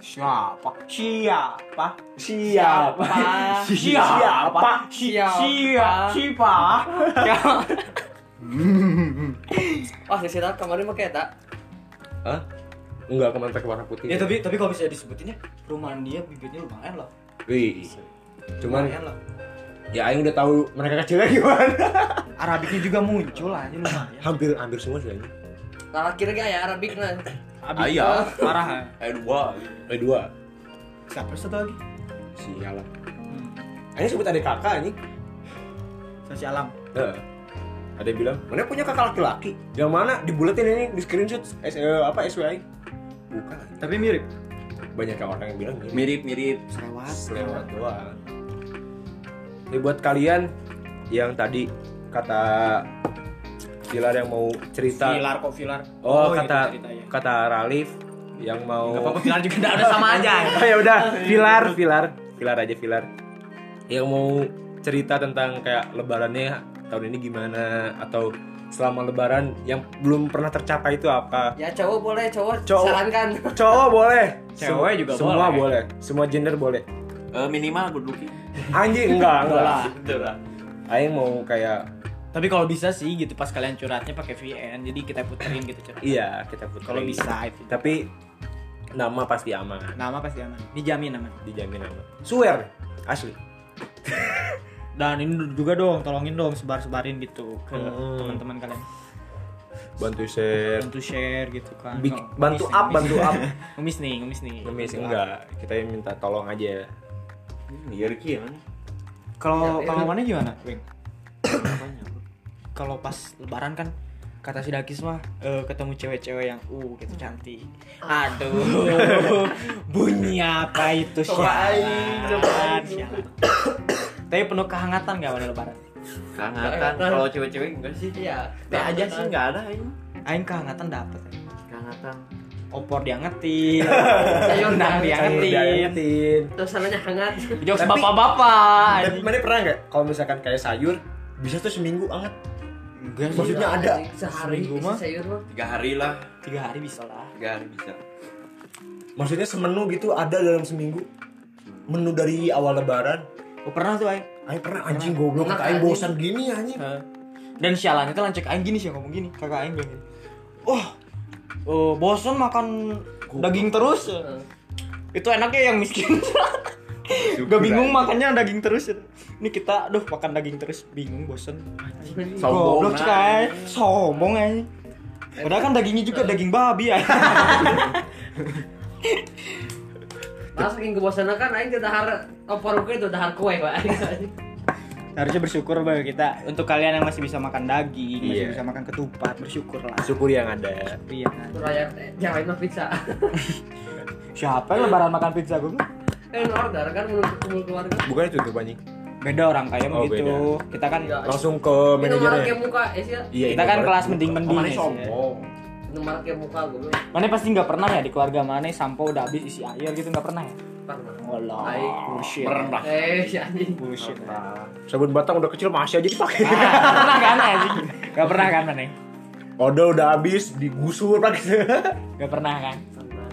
Siapa? Siapa? Siapa? [laughs] Siapa? Siapa? Siapa? wah sesi tahun kemarin pakai tak Hah? Enggak, kemarin pakai warna putih. Ya tapi tapi kalau bisa disebutin ya rumahan dia bibitnya lumayan loh. Wih. Cuman lumayan loh. ya aing udah tahu mereka kecilnya gimana. Arabiknya juga muncul aja lumayan. hampir hampir semua sih anjing. Nah, kira gak ya Arabik nah. ah iya [laughs] Parah ya. eh dua Eh dua. Siapa satu lagi? Sialan. Aing sebut adik kakak anjing. Sasi alam. Heeh. Eh, Ada yang bilang, mana punya kakak laki-laki? Yang mana dibuletin ini di screenshot S, eh, apa SWI? Bukan. Tapi mirip. Banyak yang orang yang bilang gini. mirip mirip Selewat. Lewat doang. Ini buat kalian yang tadi kata Pilar yang mau cerita. Filar kok filar. Oh, itu kata ceritanya. kata Ralif yang Gak mau iya. apa-apa filar juga udah udah [laughs] sama aja. Oh ya udah, Pilar, Pilar, Pilar aja Pilar. Yang mau cerita tentang kayak lebarannya tahun ini gimana atau selama lebaran yang belum pernah tercapai itu apa? Ya cowok boleh, cowok, Cowok. sarankan. Cowok boleh, Cewek juga semua boleh. boleh, semua gender boleh. Eh, minimal good looking Anjing enggak, enggak. lah. betul lah Aing mau kayak Tapi kalau bisa sih gitu pas kalian curhatnya pakai VN jadi kita puterin gitu curhat. iya, kita puterin. Kalau bisa itu. Tapi nama pasti aman, Nama pasti aman. Dijamin aman. dijamin aman. Swear, asli. Dan ini juga dong tolongin dong sebar-sebarin gitu ke Hmm. teman-teman kalian. Bantu share. Bantu share gitu kan. Bik- Nggak, bantu ngemis nih, up, bantu ngemis. up. [laughs] Ngemis nih, ngemis nih. Ngemis enggak, kita yang minta tolong aja. iya Ricky ya mana Kalau Ya, kalau ya. mana gimana, Wing? [coughs] kalau pas lebaran kan kata si Dakis mah eh, ketemu cewek-cewek yang uh gitu [coughs] cantik. Aduh. bunyi apa itu Cobain, sialan. sialan. [coughs] Tapi penuh kehangatan gak pada lebaran? kehangatan kalau cewek-cewek enggak sih Iya. Teh aja sih enggak ada ini Aing kehangatan dapet. kehangatan Opor [coughs] diangetin, Sayur rendang Sayur diangetin. diangetin. Suasananya hangat. Jokes Tapi- bapak-bapak. Tapi mana pernah nggak kalau misalkan kayak sayur bisa tuh seminggu anget? Enggak sih. Maksudnya ada. sehari Seminggu isi mah. Iya. sayur mah. tiga hari lah Tiga hari bisa lah. tiga hari bisa Maksudnya semenu gitu ada dalam seminggu menu dari awal lebaran. Oh, pernah tuh Aing. Ayo pernah anjing goblok, Pernah, ayo anjing. bosan gini anjing. Heeh. Dan sialannya tuh lancek aing gini sih ngomong gini, kakak aing bilang gini. Wah, eh, bosen makan daging terus. Itu enaknya yang miskin. Gak bingung makannya daging terus. Ini kita aduh makan daging terus bingung bosen. Iya. Goblok cek aing. sombong aing. Padahal kan dagingnya juga daging babi aing. Langsung ingin kebosanan kan aing teh dahar opor oge itu dahar kue wae. harusnya bersyukur bagi kita untuk kalian yang masih bisa makan daging masih Iya. bisa makan ketupat bersyukurlah syukur ya, yang ada iya kan Rakyat eh, yang lain mah pizza. siapa yang lebaran makan pizza gue Kan order kan menurut kumpul keluarga. bukan itu tuh banyak beda orang kaya Oh, begitu kita kan Iya. langsung ke Minum marak manajernya kayak muka, eh sih. iya kita ini kan barat- kelas mending mending Mana sombong. Minum marak kayak muka gue belum mana pasti nggak pernah ya di keluarga mana sampo udah habis isi air gitu nggak pernah ya pernah. Allah Ai, bullshit Eh, si anjing. bullshit sabun batang udah kecil masih aja dipakai Nggak pernah kan anjing nggak pernah kan mana Odol udah habis digusur pakai [laughs] nggak pernah kan Pernah.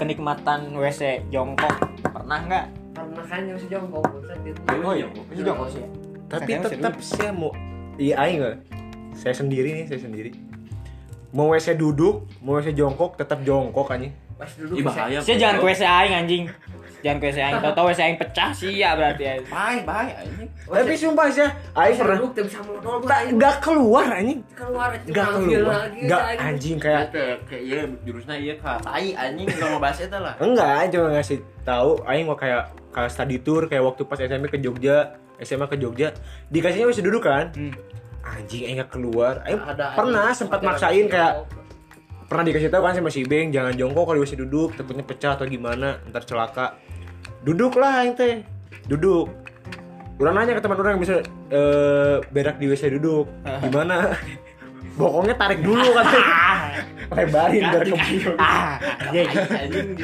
kenikmatan WC jongkok pernah nggak Pernah kan yang sejompong. Buset, itu. oh iya itu jongkok sih ya. tapi Saya tetap saya mau iya aing nggak? saya sendiri nih saya sendiri mau WC duduk mau WC jongkok tetap jongkok anjing Pas duduk. Ih bahaya. Saya jangan ke WC aing anjing. Jangan ke WC aing. Tahu-tahu WC aing pecah sih ya berarti ya. Bye bye anjing. Oh, tapi iya. sumpah saya aing Pas pernah duduk tidak bisa modal gue. Eh, nggak nggak keluar anjing Keluar itu nggak manggil keluar lagi. nggak anjing. anjing Ya kayak teh kayak iya jurusnya iya kak. Tai anjing nggak mau bahas itu lah. enggak cuma ngasih tahu aing mau kayak kayak study tour kayak waktu pas SMP ke Jogja SMA ke Jogja dikasihnya WC duduk kan anjing aing nggak keluar aing Hmm. Ada pernah anjing. sempat Ada maksain anjing. kayak pernah dikasih tahu kan sama si Beng jangan jongkok kalau di WC duduk takutnya pecah atau gimana ntar celaka duduklah aing teh duduk orang nanya ke teman orang yang bisa eh, berak di WC duduk gimana [laughs] bokongnya tarik dulu [laughs] katanya lebarin biar kebuka Ah, Anjing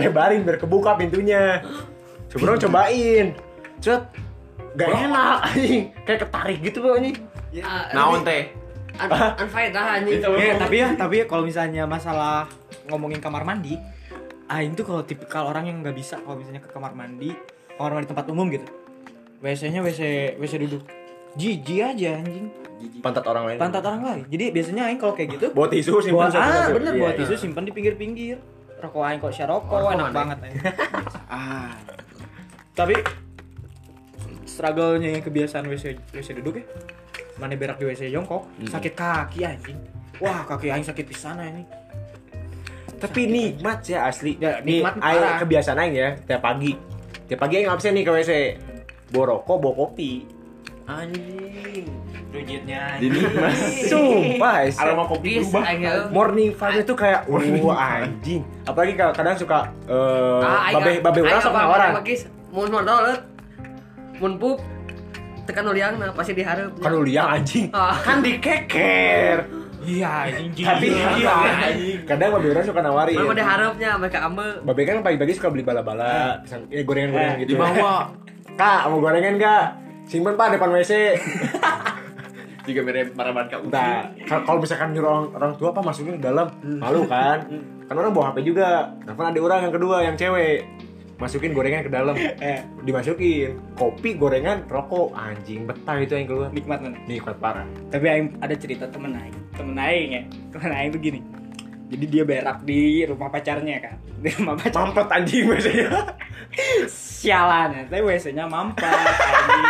lebarin biar kebuka pintunya sebelum cobain cet gak enak anjing kayak ketarik gitu pokoknya Ah, Nah, Naon teh? Un- Unfight lah anjing. Eh, Iya, tapi ya, tapi ya kalau misalnya masalah ngomongin kamar mandi, aing tuh kalau tipikal orang yang nggak bisa kalau misalnya ke kamar mandi, kamar mandi tempat umum gitu. WC-nya WC WC duduk. Jijik aja anjing. pantat orang lain Pantat orang lain. Jadi biasanya aing kalau kayak gitu bawa tisu sih bawa ah, bener Iya, bawa tisu simpan di pinggir-pinggir. Rokok aing kok syaroko enak banget aing. ah. Tapi struggle-nya yang kebiasaan WC WC duduk ya. Mana berak di WC jongkok, sakit kaki anjing. Wah, kaki aing sakit pisan anjing. tapi nikmat ya asli Ya, Nih, nikmat aing- parah. kebiasaan aing ya tiap pagi tiap pagi aing absen nih ke WC bawa rokok bawa kopi Anjing. Rujitnya sumpah Aisyah. Aroma kopi Bis, berubah. anjing. morning vibe itu kayak wah anjing apalagi kalau kadang suka eh Ah, aing- babe babe aing orang sama abang- orang abang Magis, mun modal eh. mun pup tekan uliangna pasti diharap. kan lu liang anjing Ah. kan dikeker Iya, anjing. tapi iya. kadang babe orang suka nawarin Mun pada harapnya mereka ambe. babe kan pagi-pagi suka beli bala-bala pisang eh, gorengan-gorengan Eh, gitu Di bawah. kak mau gorengan kak simpen pak depan WC Jika mere maraban ka Nah, kal- kalau misalkan nyuruh orang, orang tua apa masukin ke dalam, malu kan? kan orang bawa HP juga. Telepon ada orang yang kedua yang cewek. Masukin gorengan ke dalam. Eh. Dimasukin kopi, gorengan, rokok, anjing betah itu yang keluar. Nikmat mana? Nikmat parah. tapi aing ada cerita temen aing temen aing ya temen aing tuh gini jadi dia berak di rumah pacarnya kan [laughs] di rumah pacar Mampet anjing biasanya. sialan ya. tapi wc nya mampet anjing.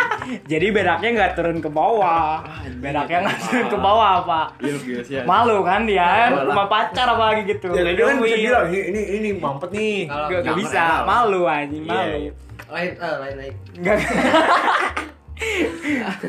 jadi beraknya nggak turun ke bawah beraknya nggak turun ke bawah pak Iya gila sih. malu kan dia rumah pacar apalagi gitu ya, dia kan bisa Nungguin. bilang, ini, ini, ini mampet nih. Kalau Nggak- nggak Nggak bisa pernah. malu anjing Iya, malu iya. lain eh lain lain. nggak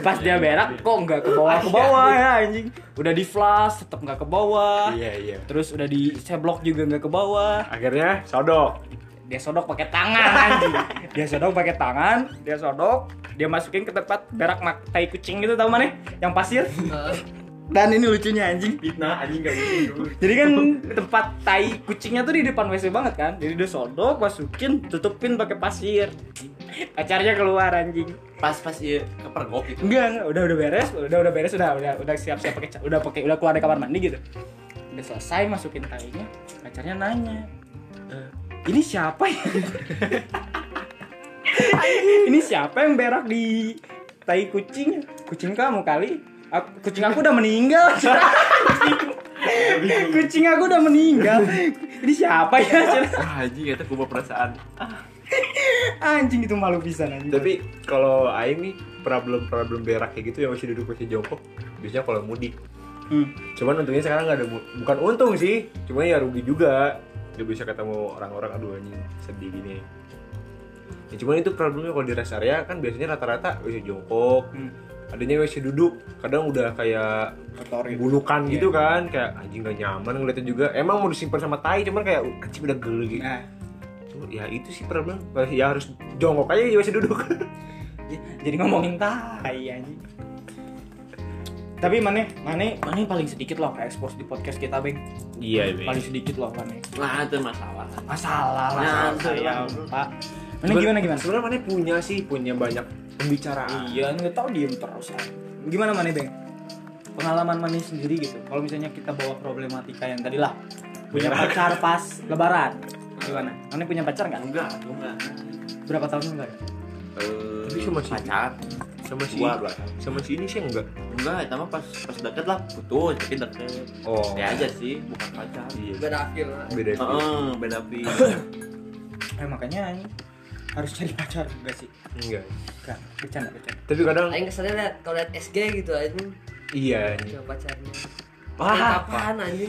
pas dia berak kok nggak ke bawah Iya, ke bawah ya anjing udah di flash tetap nggak ke bawah Iya, iya. Terus udah di seblok juga nggak ke bawah. Akhirnya sodok. Dia sodok pakai tangan anjing. Dia sodok pakai tangan, dia sodok, dia masukin ke tempat berak mak tai kucing gitu tau mana? Yang pasir. Eh, [laughs] Dan ini lucunya anjing. Fitnah anjing gak mungkin. Jadi kan tempat tai kucingnya tuh di depan WC banget kan. Jadi dia sodok, masukin, tutupin pakai pasir. Acarnya keluar anjing. Pas-pas iya kepergok gitu. Enggak, enggak, udah udah beres, udah udah beres, udah udah udah siap-siap pakai ca- udah pakai udah keluar dari kamar mandi gitu. Udah selesai masukin tainya, pacarnya nanya. "Eh, ini siapa ya? [laughs] ini siapa yang berak di tai kucing? Kucing kamu kali. Aku- kucing aku udah meninggal. [laughs] kucing aku udah meninggal. Ini siapa ya? [laughs] Ah anjing itu gue perasaan. Anjing itu malu pisan anjing. Tapi kalau Aing nih problem-problem berak kayak gitu yang masih duduk masih jongkok biasanya kalau mudik. Hmm. Cuman untungnya sekarang nggak ada mu- bukan untung sih, cuman ya rugi juga. Gak bisa ketemu orang-orang aduh anjing sedih gini. ya, cuman itu problemnya kalau di rest area kan biasanya rata-rata WC jongkok adanya WC duduk kadang udah kayak bulukan gitu kan kayak anjing gak nyaman ngeliatnya juga emang mau disimpan sama tai cuman kayak "Uh, anjing udah geli gitu Nah, Cuma, ya itu sih problem ya harus jongkok aja di WC duduk J- jadi ngomongin tai anjing tapi mana mana mana paling sedikit loh ke expose di podcast kita beng iya paling sedikit loh mana Nah, itu masalah. masalah lah Nah, masalah sayang, pak mana gimana gimana sebenarnya mana punya sih punya banyak pembicaraan iya nggak tahu diem terus ah. gimana mana beng pengalaman mana sendiri gitu kalau misalnya kita bawa problematika yang tadi lah punya pacar [laughs] pas lebaran gimana mana punya pacar nggak Enggak, tuh enggak. berapa tahun enggak ya? Eh, Tapi sama si- pacar. sama si Dua. sama si ini sih enggak Enggak, itu mah pas pas deket lah putus, tapi deket. oh Ya aja sih, bukan pacar. iya beda akhir lah beda sih. Heeh, beda [laughs] pi. eh makanya ini harus cari pacar enggak sih enggak enggak bercanda bercanda tapi kadang Aing kesannya liat kalau liat SG gitu anjing iya sama pacarnya. Wah. Kapan anjing?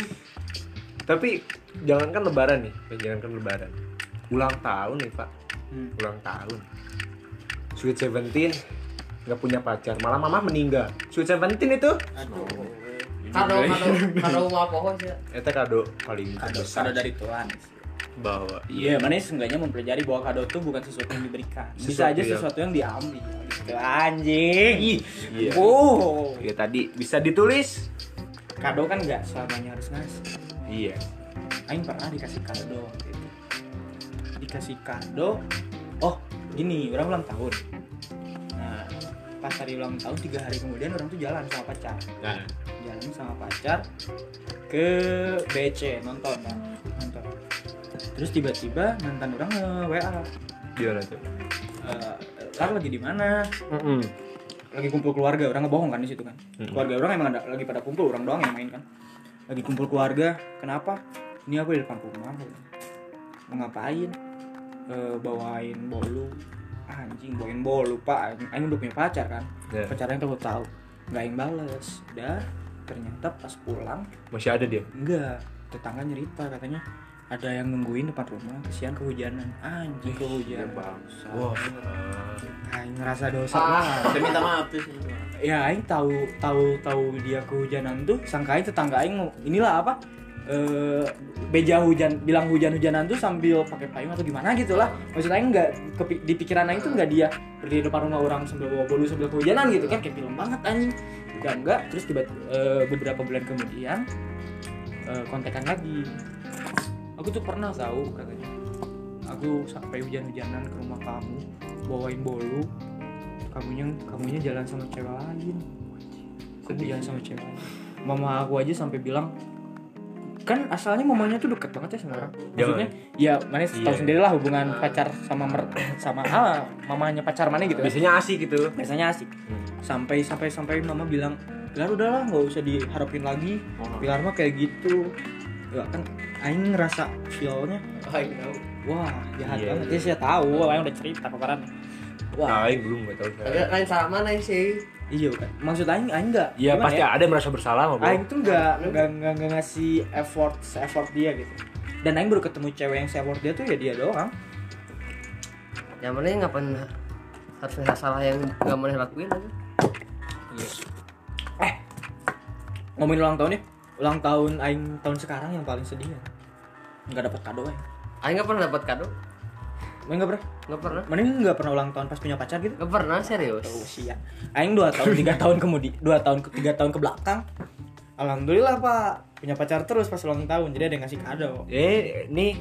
tapi jangankan lebaran nih eh, jangankan lebaran ulang tahun nih pak Hmm. ulang tahun sweet seventeen nggak punya pacar malah mama meninggal sweet seventeen itu Kado Iya. kado kado mau pohon sih. itu kado paling besar dari Tuhan bahwa Iya, mana seenggaknya mempelajari bahwa kado itu bukan sesuatu yang diberikan. Bisa Sesuatu aja yang- sesuatu yang diambil. Gitu, anjing. Ih. Iya. Wow. ya tadi bisa ditulis Kado kan nggak selamanya harus ngasih. iya Aing pernah dikasih kado gitu. Dikasih kado. Oh, gini, orang ulang tahun. Nah, pas hari ulang tahun tiga hari kemudian orang tuh jalan sama pacar. nah jalan sama pacar ke BC nonton kan nonton terus tiba-tiba mantan orang nge WA gimana tuh Eh, "Tar lagi di mana lagi kumpul keluarga orang ngebohong kan di situ kan keluarga orang emang ada lagi pada kumpul orang doang yang main kan lagi kumpul keluarga kenapa ini aku di depan rumah mau ngapain Eh, bawain bolu Ah, anjing bawain bolu pak anjing udah punya pacar kan Iya. pacarnya tuh tahu nggak yang bales udah ternyata pas pulang masih ada dia enggak tetangga cerita katanya ada yang nungguin depan rumah kesian kehujanan anjing kehujanan Iya, bangsa Wah. Aing ngerasa dosa Ah. banget. Saya minta maaf tuh. sih. ya aing tahu tahu tahu dia kehujanan tuh sangkain tetangga aing mau- inilah apa eh beja hujan bilang hujan-hujanan tuh sambil pakai payung atau gimana gitu lah maksud aing nggak kepi- di pikiran aing tuh nggak dia berdiri depan rumah orang sambil bawa bolu sambil kehujanan gitu kan kayak film banget anjing enggak enggak terus tiba eh, beberapa bulan kemudian eh, kontekan lagi aku tuh pernah tahu katanya aku sampai hujan-hujanan ke rumah kamu bawain bolu kamunya kamunya jalan sama cewek lain kamu jalan sama cewek lain mama aku aja sampai bilang kan asalnya mamanya tuh deket banget ya sama orang maksudnya ya mana tahu Iya. sendiri lah hubungan pacar sama mer sama ah, mamanya pacar mana gitu kan biasanya asik gitu biasanya asik sampai sampai sampai mama bilang Pilar udahlah nggak usah diharapin lagi Pilar mah kayak gitu ya kan Aing ngerasa feelnya Aing tahu. wah jahat Iya, banget ya saya tahu Aing udah cerita paparan wah nah, Aing belum gak tahu Tapi saya lain sama lain sih. iya kan maksud Aing Aing nggak Iya gimana pasti ya? ada yang merasa bersalah mah bro Aing tuh nggak nggak nggak nggak ngasih effort effort dia gitu dan Aing baru ketemu cewek yang se-effort dia tuh ya dia doang Yang mana nggak pernah harus ada salah yang nggak boleh lakuin aja. Eh, ngomongin ulang tahun ya ulang tahun Aing tahun sekarang yang paling sedih ya nggak dapat kado Aing Aing nggak pernah dapat kado. Mana nggak pernah Nggak pernah. Mana nggak pernah ulang tahun pas punya pacar gitu Nggak pernah serius. usia aing dua tahun [laughs] tiga tahun kemudian dua tahun ke tiga tahun ke belakang alhamdulillah pak punya pacar terus pas ulang tahun jadi ada yang ngasih kado eh nih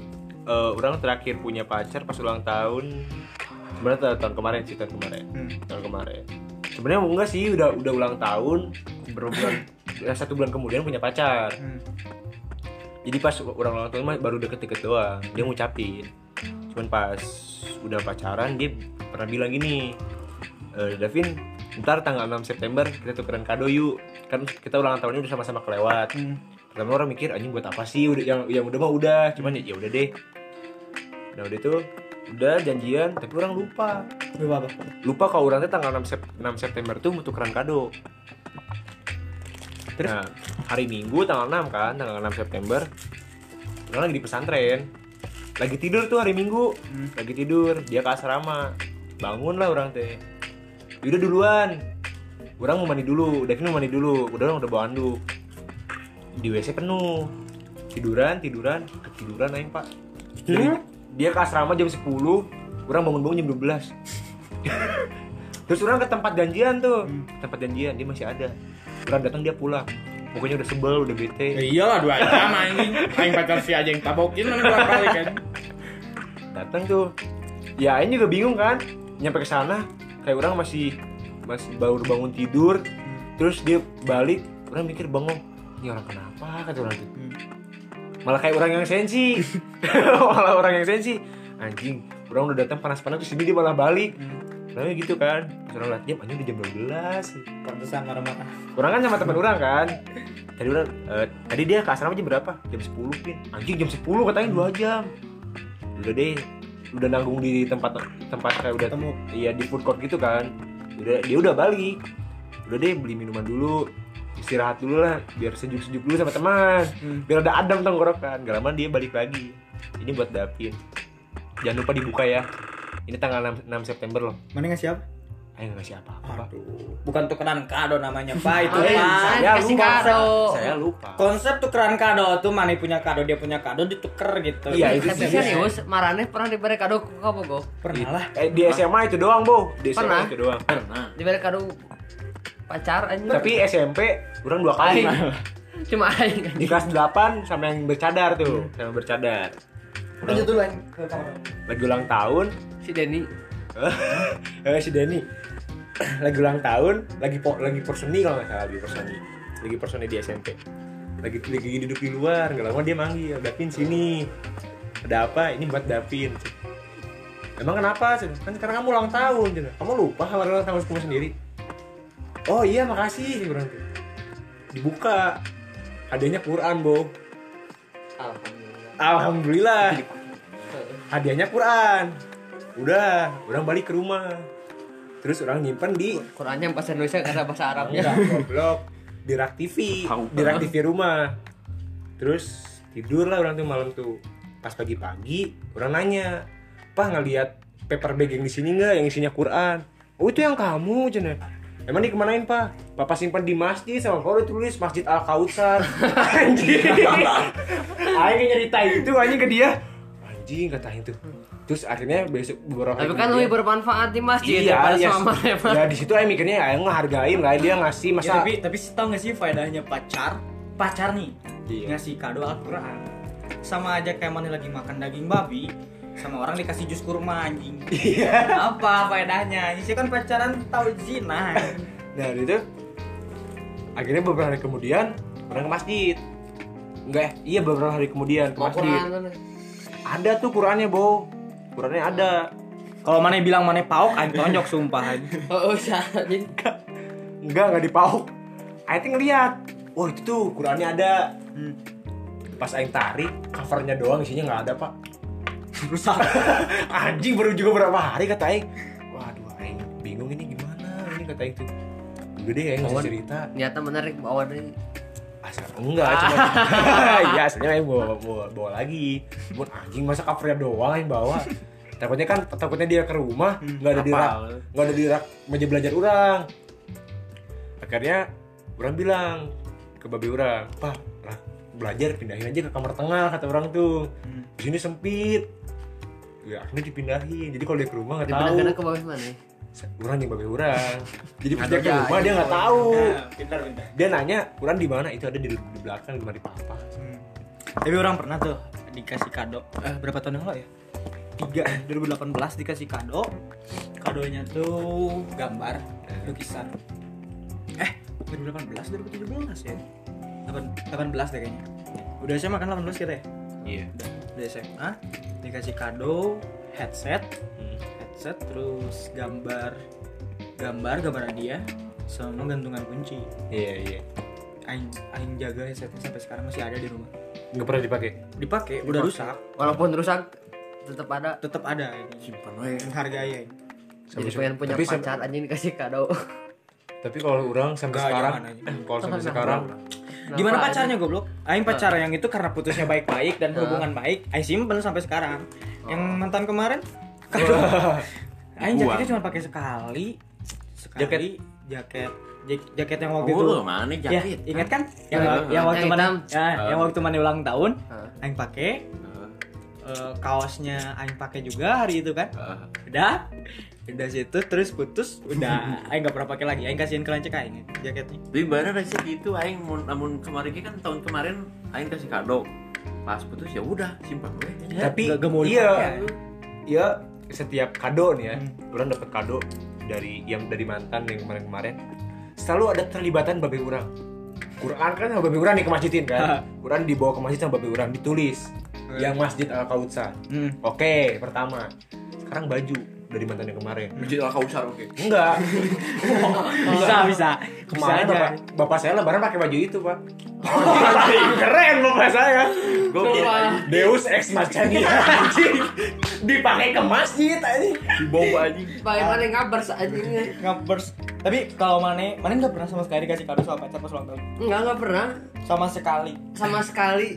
eh, orang terakhir punya pacar pas ulang tahun sebenarnya tahun- tahun kemarin sih tahun kemarin Hmm, tahun kemarin sebenarnya enggak sih udah udah ulang tahun beberapa bulan ya, satu bulan kemudian punya pacar Hmm. jadi pas orang ulang tahun mah baru deket-deket doang dia ngucapin cuman pas udah pacaran dia pernah bilang gini "Eh, Davin ntar tanggal 6 September kita tukeran kado yuk kan kita ulang tahunnya udah sama-sama kelewat Hmm. pertama orang mikir anjing buat apa sih udah yang yang udah mah udah cuman ya ya udah deh nah udah itu udah janjian tapi orang lupa Gak apa lupa kalau orangnya tanggal 6, Sep- 6 September tuh mau tukeran kado Terus? Nah, hari Minggu tanggal 6 kan tanggal 6 September orang lagi di pesantren lagi tidur tuh hari minggu lagi tidur dia ke asrama bangun lah orang teh udah duluan orang mau mandi dulu Davin mau mandi dulu udah orang udah bawa anduk di WC penuh tiduran tiduran ketiduran aing pak Jadi, dia ke asrama jam 10 orang bangun bangun jam 12 terus orang ke tempat janjian tuh tempat janjian dia masih ada orang datang dia pulang pokoknya udah sebel udah bete Iya. Ya iyalah dua jam anjing. Aing pacar si aja yang tabokin mana dua kali kan. datang tuh ya Aing juga bingung kan nyampe ke sana kayak orang masih masih baru bangun tidur terus dia balik orang mikir bengong ini orang kenapa kata orang tuh malah kayak orang yang sensi [laughs] malah orang yang sensi anjing orang udah datang panas-panas terus ini dia malah balik Orangnya gitu kan Terus orang liat jam anjing udah jam 12 Pantesan marah-marah. Orang kan sama teman orang kan Tadi orang, eh, tadi dia ke asrama jam berapa? Jam 10 pin Anjing jam 10 katanya 2 jam Udah deh Udah nanggung di tempat tempat kayak udah Ketemu. Iya di food court gitu kan udah, Dia udah balik Udah deh beli minuman dulu Istirahat dulu lah Biar sejuk-sejuk dulu sama teman Biar ada adem tenggorokan Gak lama dia balik lagi Ini buat Davin Jangan lupa dibuka ya Ini tanggal 6, 6 September loh Mana nggak siap? Ayo nggak ngasih apa-apa Pak. Bukan tukeran kado namanya, Pak. Itu Ah, iya. Eh, Pak. saya kasih kado. Saya lupa Konsep tukeran kado tuh mana punya kado, dia punya kado dituker gitu. Iya, itu Tapi sih. serius, Marane pernah diberi kado ke kamu go? Pernah lah. Eh, di SMA itu doang, Bo. Di SMA Pernah. itu doang. Diberi kado pacar anjing. Tapi SMP kurang dua kali. cuma aing di anjing. kelas 8 sama yang bercadar tuh, sama bercadar. Lanjut dulu Aing, ke kamar. Lagi ulang tahun, Si Denny [laughs] eh si Denny [clears throat] lagi ulang tahun, lagi po, lagi perseni kalau nggak salah, lagi perseni. Lagi perseni di SMP. Lagi lagi duduk di luar, nggak lama dia manggil, Davin sini. Ada apa? Ini buat Davin. Emang kenapa? Kan sekarang kamu ulang tahun, kamu lupa sama ulang tahun kamu sendiri. Oh iya makasih kurang Dibuka hadiahnya Quran, Bo. Alhamdulillah. Hadiahnya Quran. Udah, orang balik ke rumah. Terus orang nyimpen di Qurannya bahasa Indonesia karena bahasa Arabnya. enggak goblok di rak TV, di rak TV rumah. Terus tidur lah orang tuh malam tuh. Pas pagi-pagi orang nanya, "Pak ngelihat paper bag yang di sini enggak yang isinya Quran?" "Oh, itu yang kamu, Jen." Emang dikemanain, Pak? Papa simpan di masjid sama kalau tulis Masjid Al Kautsar. [laughs] Anjing. Aing nyerita itu anjing ke dia. Anjing kata Aing tuh. Terus akhirnya besok beberapa Hmm. Tapi hari kan kemudian- lebih bermanfaat di masjid iya, daripada ya, sama Marane. ya di situ aing mikirnya aing ngehargain lah dia ngasih Ya, masa tapi tapi sih tau nggak sih faedahnya pacar? Pacar nih Iya. ngasih kado Al-Qur'an. Sama aja kayak mana lagi makan daging babi sama orang dikasih jus kurma anjing. Iya. Apa faedahnya? Ini sih kan pacaran tahu zina. anjing. nah itu akhirnya beberapa hari kemudian orang ke masjid enggak iya beberapa hari kemudian ke Mau masjid Quran mana? ada tuh Qurannya bo Qurannya ada Kalau mana bilang mana pauk, aing tonjok sumpah. anjing. Oh, usah anjing. enggak enggak dipauk aing tuh ngeliat wah itu tuh Qurannya ada pas aing tarik covernya doang isinya nggak ada pak Rusak. anjing baru juga berapa hari kata Aing waduh Aing bingung ini gimana ini kata Aing tuh udah deh Aing ngasih Kawan. cerita Ternyata menarik bawa dari asal enggak [laughs] cuma ya aslinya Aing bawa, bawa, bawa lagi buat anjing masa covernya doang Aing bawa takutnya kan takutnya dia ke rumah nggak ada di rak nggak ada di rak meja belajar orang akhirnya orang bilang ke babi orang pak lah, belajar pindahin aja ke kamar tengah kata orang tuh di sini sempit ya akhirnya dipindahin jadi kalau dia ke rumah nggak tahu dibandingkan ke bawah mana? kurang yang babe orang jadi pas dia ke Ada rumah aja, dia nggak tahu Nah, pintar pintar. dia nanya kurang di mana itu ada di, di belakang di mari papa Hmm. Tapi orang pernah tuh dikasih kado eh, berapa tahun yang lalu ya? Tiga, 2018 dikasih kado. Kadonya tuh gambar lukisan. Eh, 2018 2017 ya. 8 18 deh kayaknya. Udah SMA kan 18 kita ya? iya Udah, udah SMA dikasih kado headset. Headset terus gambar gambar gambar dia sama gantungan kunci. iya iya Aing aing jaga headsetnya sampai sekarang masih ada di rumah. nggak pernah dipakai Dipakai, udah rusak, Walaupun rusak tetap ada tetap ada gitu. simpan we. menghargai Jadi pengen punya tapi, sam- pacar [laughs] anjing dikasih kado. tapi kalau orang sampai Nggak, sekarang [clears throat] jangan, anjing. [laughs] kalau sampai sekarang Gimana pacarnya goblok? Aing pacar yang itu karena putusnya baik-baik dan hubungan baik, aing simpen sampai sekarang. Yang Oh. mantan kemarin Iya, Aing jaketnya cuma pakai sekali. Sekali jaket jaket jaket yang waktu itu. Oh, mana Ya, jaket? ingat kan? Yang, Heeh. yang waktu Yang mana? hitam. Ya, yang waktu mana ulang tahun, Heeh. aing pakai. Eh, kaosnya aing pakai juga hari itu kan. Udah. Udah situ terus putus, udah aing nggak pernah pakai lagi. Aing kasihin ke lancek aing jaketnya. Tapi bener sih gitu aing mun namun kemarin kan tahun kemarin aing kasih kado. Pas putus ya udah simpan gue. Tapi nggak- nggak mau iya, dipakai. iya setiap kado nih ya, Hmm. orang dapat kado dari yang dari mantan yang kemarin-kemarin selalu ada terlibatan babe orang. Quran kan sama babe orang nih ke masjidin [laughs] kan. Quran dibawa ke masjid sama babe orang ditulis yang masjid al kautsa Hmm. Oke, pertama. Sekarang baju dari mantan yang kemarin. Masjid Al Kausar oke. Enggak. Bisa, bisa. Bisa aja. Kemarin bapak, bapak saya lebaran pakai baju itu, Pak. Keren bapak saya. Gokil. Deus ex machina anjing. Dipakai ke masjid anjing. Dibawa anjing. Bagaimana ngabers anjingnya? Ngapers. Tapi kalau Mane, Mane nggak pernah sama sekali dikasih kado sama pacar pas ulang tahun. Enggak, enggak pernah Sama sekali. sama sekali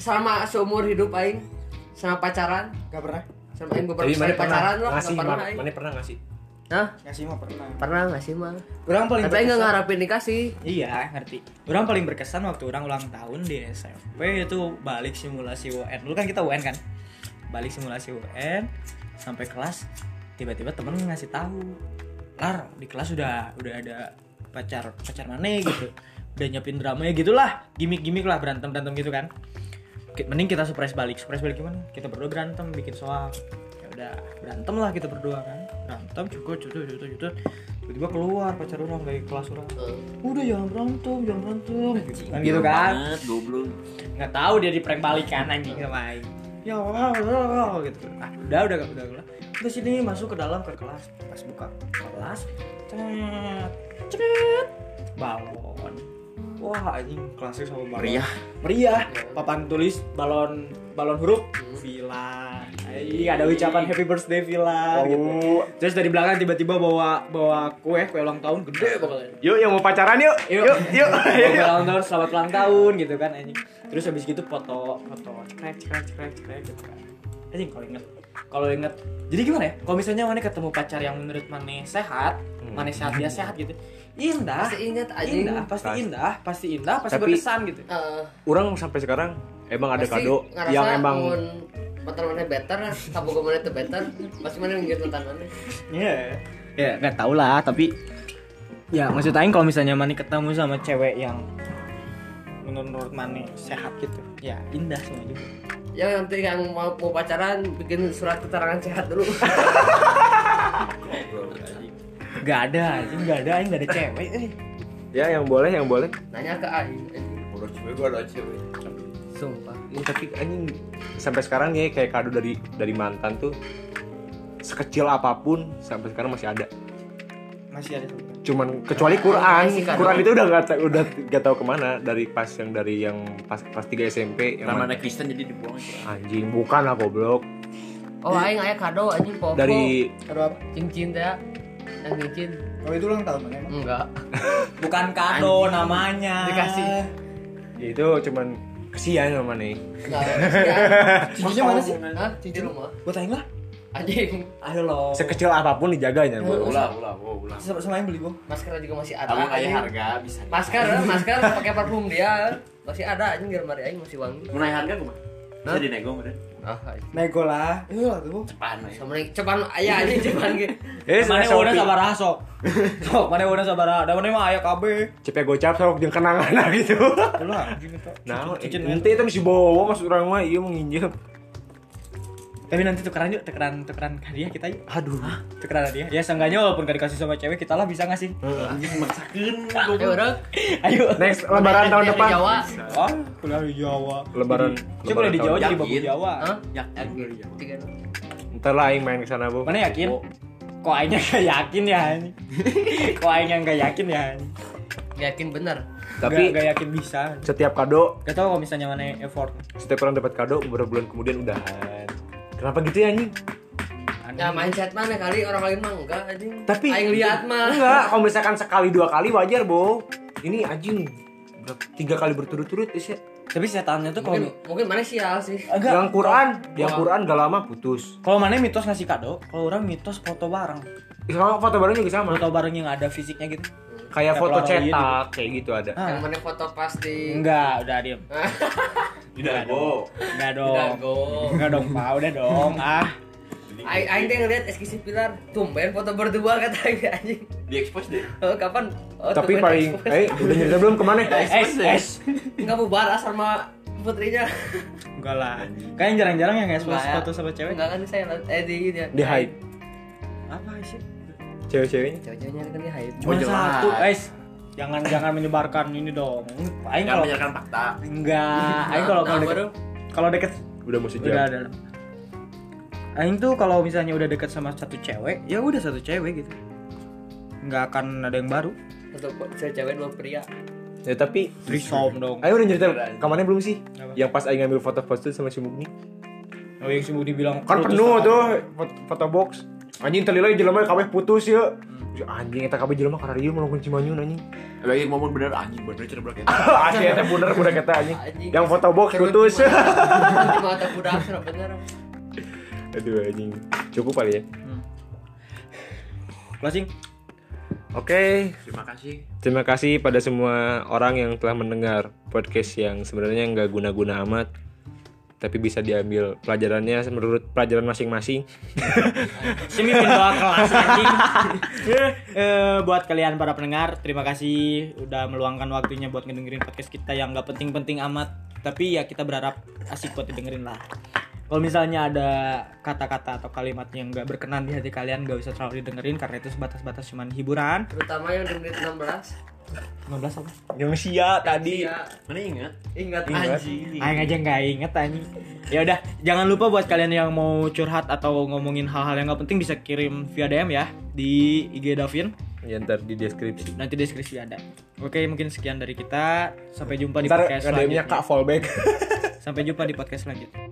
selama seumur hidup aing sama pacaran, Nggak pernah. sama aing beberapa kali pacaran lah, ngasih, enggak pernah mana, aing. mana pernah ngasih? Hah? Ngasih mah pernah. Pernah enggak sih, Mang? Orang paling Tapi aing enggak berkesan- ngarapin dikasih. Iya, ngerti. Orang paling berkesan waktu orang ulang tahun di SMP itu balik simulasi UN. Dulu kan kita UN kan. Balik simulasi UN sampai kelas tiba-tiba temen ngasih tahu. Lar, di kelas udah udah ada pacar pacar mana gitu. Udah nyiapin drama ya gitulah, gimmick-gimmick lah berantem-berantem gitu kan. Ki- Mending kita surprise balik. Surprise balik gimana? Kita berdua berantem bikin soal. Ya udah, berantem lah kita berdua kan. Berantem cukup cukup cukup cukup. Tiba-tiba keluar pacar orang dari kelas orang udah jangan berantem jangan berantem gitu kan gitu kan Banget goblok. nggak tahu dia di prank balikan anjing sama Aing ya wah, wah, wah, gitu ah udah udah udah udah ke sini masuk ke dalam ke kelas pas buka kelas cet cet balon wah anjing kelasnya sama balon Meriah. meriah papan tulis balon balon huruf Villa Ay, ada ucapan happy birthday Villa gitu terus dari belakang tiba-tiba bawa bawa kue kue ulang tahun gede banget Yuk, yang mau pacaran yuk. yuk [laughs] yuk ulang tahun selamat ulang tahun gitu kan anjing terus habis gitu foto foto crack crack crack crack gitu kan anjing kalau inget kalau inget jadi gimana ya kalau misalnya mana ketemu pacar yang menurut mana sehat mana sehat dia sehat gitu indah Pasti ingat anjing. indah pasti indah pasti indah pasti Tapi- berkesan gitu Heeh. Orang sampai sekarang emang ada Pasti kado ngerasa yang emang mun mantan mana better, tabu kemana itu better, pasti mana mikir mantan mana. Iya. Ya nggak tau lah, tapi ya maksud Aing kalau misalnya Mani ketemu sama cewek yang menurut Mani sehat gitu, ya indah semua juga. Ya nanti yang mau, mau pacaran bikin surat keterangan sehat dulu. [laughs] Gak ada, anjing gak ada, Aing gak ada cewek. eh. ya yang boleh yang boleh. Nanya ke aing. anjing. Udah cewek gua ada cewek. Sumpah. Ini Ya, tapi anjing sampai sekarang ya kayak kado dari dari mantan tuh sekecil apapun sampai sekarang masih ada. Masih ada satu. cuman kecuali Quran Iya Kasih kado. Quran itu udah nggak ta- udah nggak tahu kemana dari pas yang dari yang pas pas tiga SMP yang Karena mana- ada Kristen jadi dibuang aja. anjing bukan lah goblok Oh aing aya kado anjing Oh, popo. dari Kado apa? cincin teh. Yang cincin. Kalau Oh, itu ulang tahun Mani emang? Enggak. Bukan kado namanya. Dikasih. ya itu cuman kesian sama nih [laughs] Enggak. Cincinnya mana sih? Hah? Cincin rumah. Buat Aing lah. Anjing. Ayo loh. sekecil apapun dijaganya Oh. bro. Ulah, ulah, ulah, ulah. Sama sama Aing beli gua. Maskernya juga masih ada. Kamu kayak anjing. harga bisa. Masker, eh, masker pakai parfum dia. Masih ada anjing di lemari aing masih wangi. Menaik harga gua mah. Bisa dinego meureun. Ah, anjing. Nego lah. Iya lah tuh. Cepat aja. Sama nih, cepan aya anjing gitu. cepan ge. eh Mana Shopee. udah sabar [laughs] sok. Sok, mana udah sabar. Da mana mah aya KB. cepet gocap sok jeung kenangan lah [laughs] gitu Dulu lah, anjing itu. nah eh, Cincin, nanti itu mesti bawa maksud orang mah iya menginjak Tapi nanti tukeran yuk, tukeran tukeran hadiah kita yuk. aduh Tukeran hadiah. Ya seenggaknya walaupun gak dikasih sama cewek, kita lah bisa ngasih. [laughs] Anjing maksakeun Ya goblok. udah. Ayo. next lebaran tahun Yang di depan Jawa. Oh, kuliah di Jawa. Lebaran- Siapa kuliah di lebaran Jawa tahun jadi babu yakin. Jawa. Hah? Ya, ya, gua liat. Tiga. ntar lah aing main kesana bu Mana yakin? Kok aingnya gak yakin ya? Hani? Kok aingnya gak yakin ya? Hani? Yakin bener. Tapi- gak, gak yakin bisa. setiap kado Gak tau kalau misalnya mana effort. setiap orang dapat kado beberapa bulan kemudian udahan kenapa gitu ya anjing Ya mindset mana kali orang lain mah enggak anjing. Tapi aing lihat mah. Enggak, kalau misalkan sekali dua kali wajar, Bo. Ini anjing berapa- tiga kali berturut-turut sih. Tapi setannya tuh kalau mungkin mungkin mana sial sih agak Yang Quran, yang Quran gak lama putus. kalau mana mitos ngasih kado, kalau orang mitos foto bareng. Ih, Sama foto baru juga sama. Foto bareng yang nggak ada fisiknya gitu. Kayak Kayak foto Polaroid cetak kayak gitu ada. yang mana foto pasti [laughs] Enggak, udah diem. Tidak go. Enggak Oh. dong. dago Enggak dong, Pak. Udah dong. Ah. Aing aing teh ngeliat eskisi pilar tumben foto berdua kata aing anjing Di expose deh. oh, kapan oh, Tapi tumben [laughs] paling, expose. eh udah nyerita belum kemana? Eh, eh. nggak bubar ah sama putrinya Enggak lah. Kayaknya jarang-jarang yang nge-expose Enggak ya. foto sama cewek. enggak kan saya eh di ini ya Di hide Apa sih? cewek-ceweknya. cewek-ceweknya kan di hide Cuma satu, guys. Jangan jangan menyebarkan ini dong. Aing Jangan kalau menyerahkan fakta. enggak, aing kalau kalau Nah, deket baru. kalau deket Udah mau udah sejam. ada. lah. Aing tuh kalau misalnya udah deket sama satu cewek, ya udah satu cewek gitu. Enggak akan ada yang baru. foto cewek dua pria Ya tapi Trisom dong. Ayo udah nyerita kemana belum sih? Apa? Yang pas Aing ngambil foto post sama si Mugni Oh yang sibuk dibilang Kan penuh tuh foto, foto box Anjing terlilit jelema kabeh putus ya Anjing eta kabeh jelema kararieu melakukan cimanyun anjing Lagi ngomong bener anjing bener cerita bener [laughs] Asli eta bener udah kata anjing Anjing. Yang foto box putus ya. [laughs] cuma tak budak sih bener Aduh anjing Cukup kali ya Closing. Oke Terima kasih. Terima kasih pada semua orang yang telah mendengar podcast yang sebenarnya nggak guna-guna amat tapi bisa diambil pelajarannya menurut pelajaran masing-masing. Semi pindah kelas anjing. Eh, buat kalian para pendengar, terima kasih udah meluangkan waktunya buat ngedengerin podcast kita yang nggak penting-penting amat. Tapi ya kita berharap asik buat didengerin lah. Kalau misalnya ada kata-kata atau kalimat yang nggak berkenan di hati kalian, nggak usah terlalu didengerin karena itu sebatas-batas cuman hiburan. terutama yang di menit 16 15 apa? Yang sia tadi. ya Mana ingat? ingat Anjing. Aing aja nggak inget anjing. Ya udah, jangan lupa buat kalian yang mau curhat atau ngomongin hal-hal yang nggak penting bisa kirim via DM ya di IG Davin. Ya ntar di deskripsi. nanti deskripsi ada. Oke, mungkin sekian dari kita. Sampai jumpa di Ntar podcast selanjutnya. ngademnya kak fallback. Sampai jumpa di podcast selanjutnya.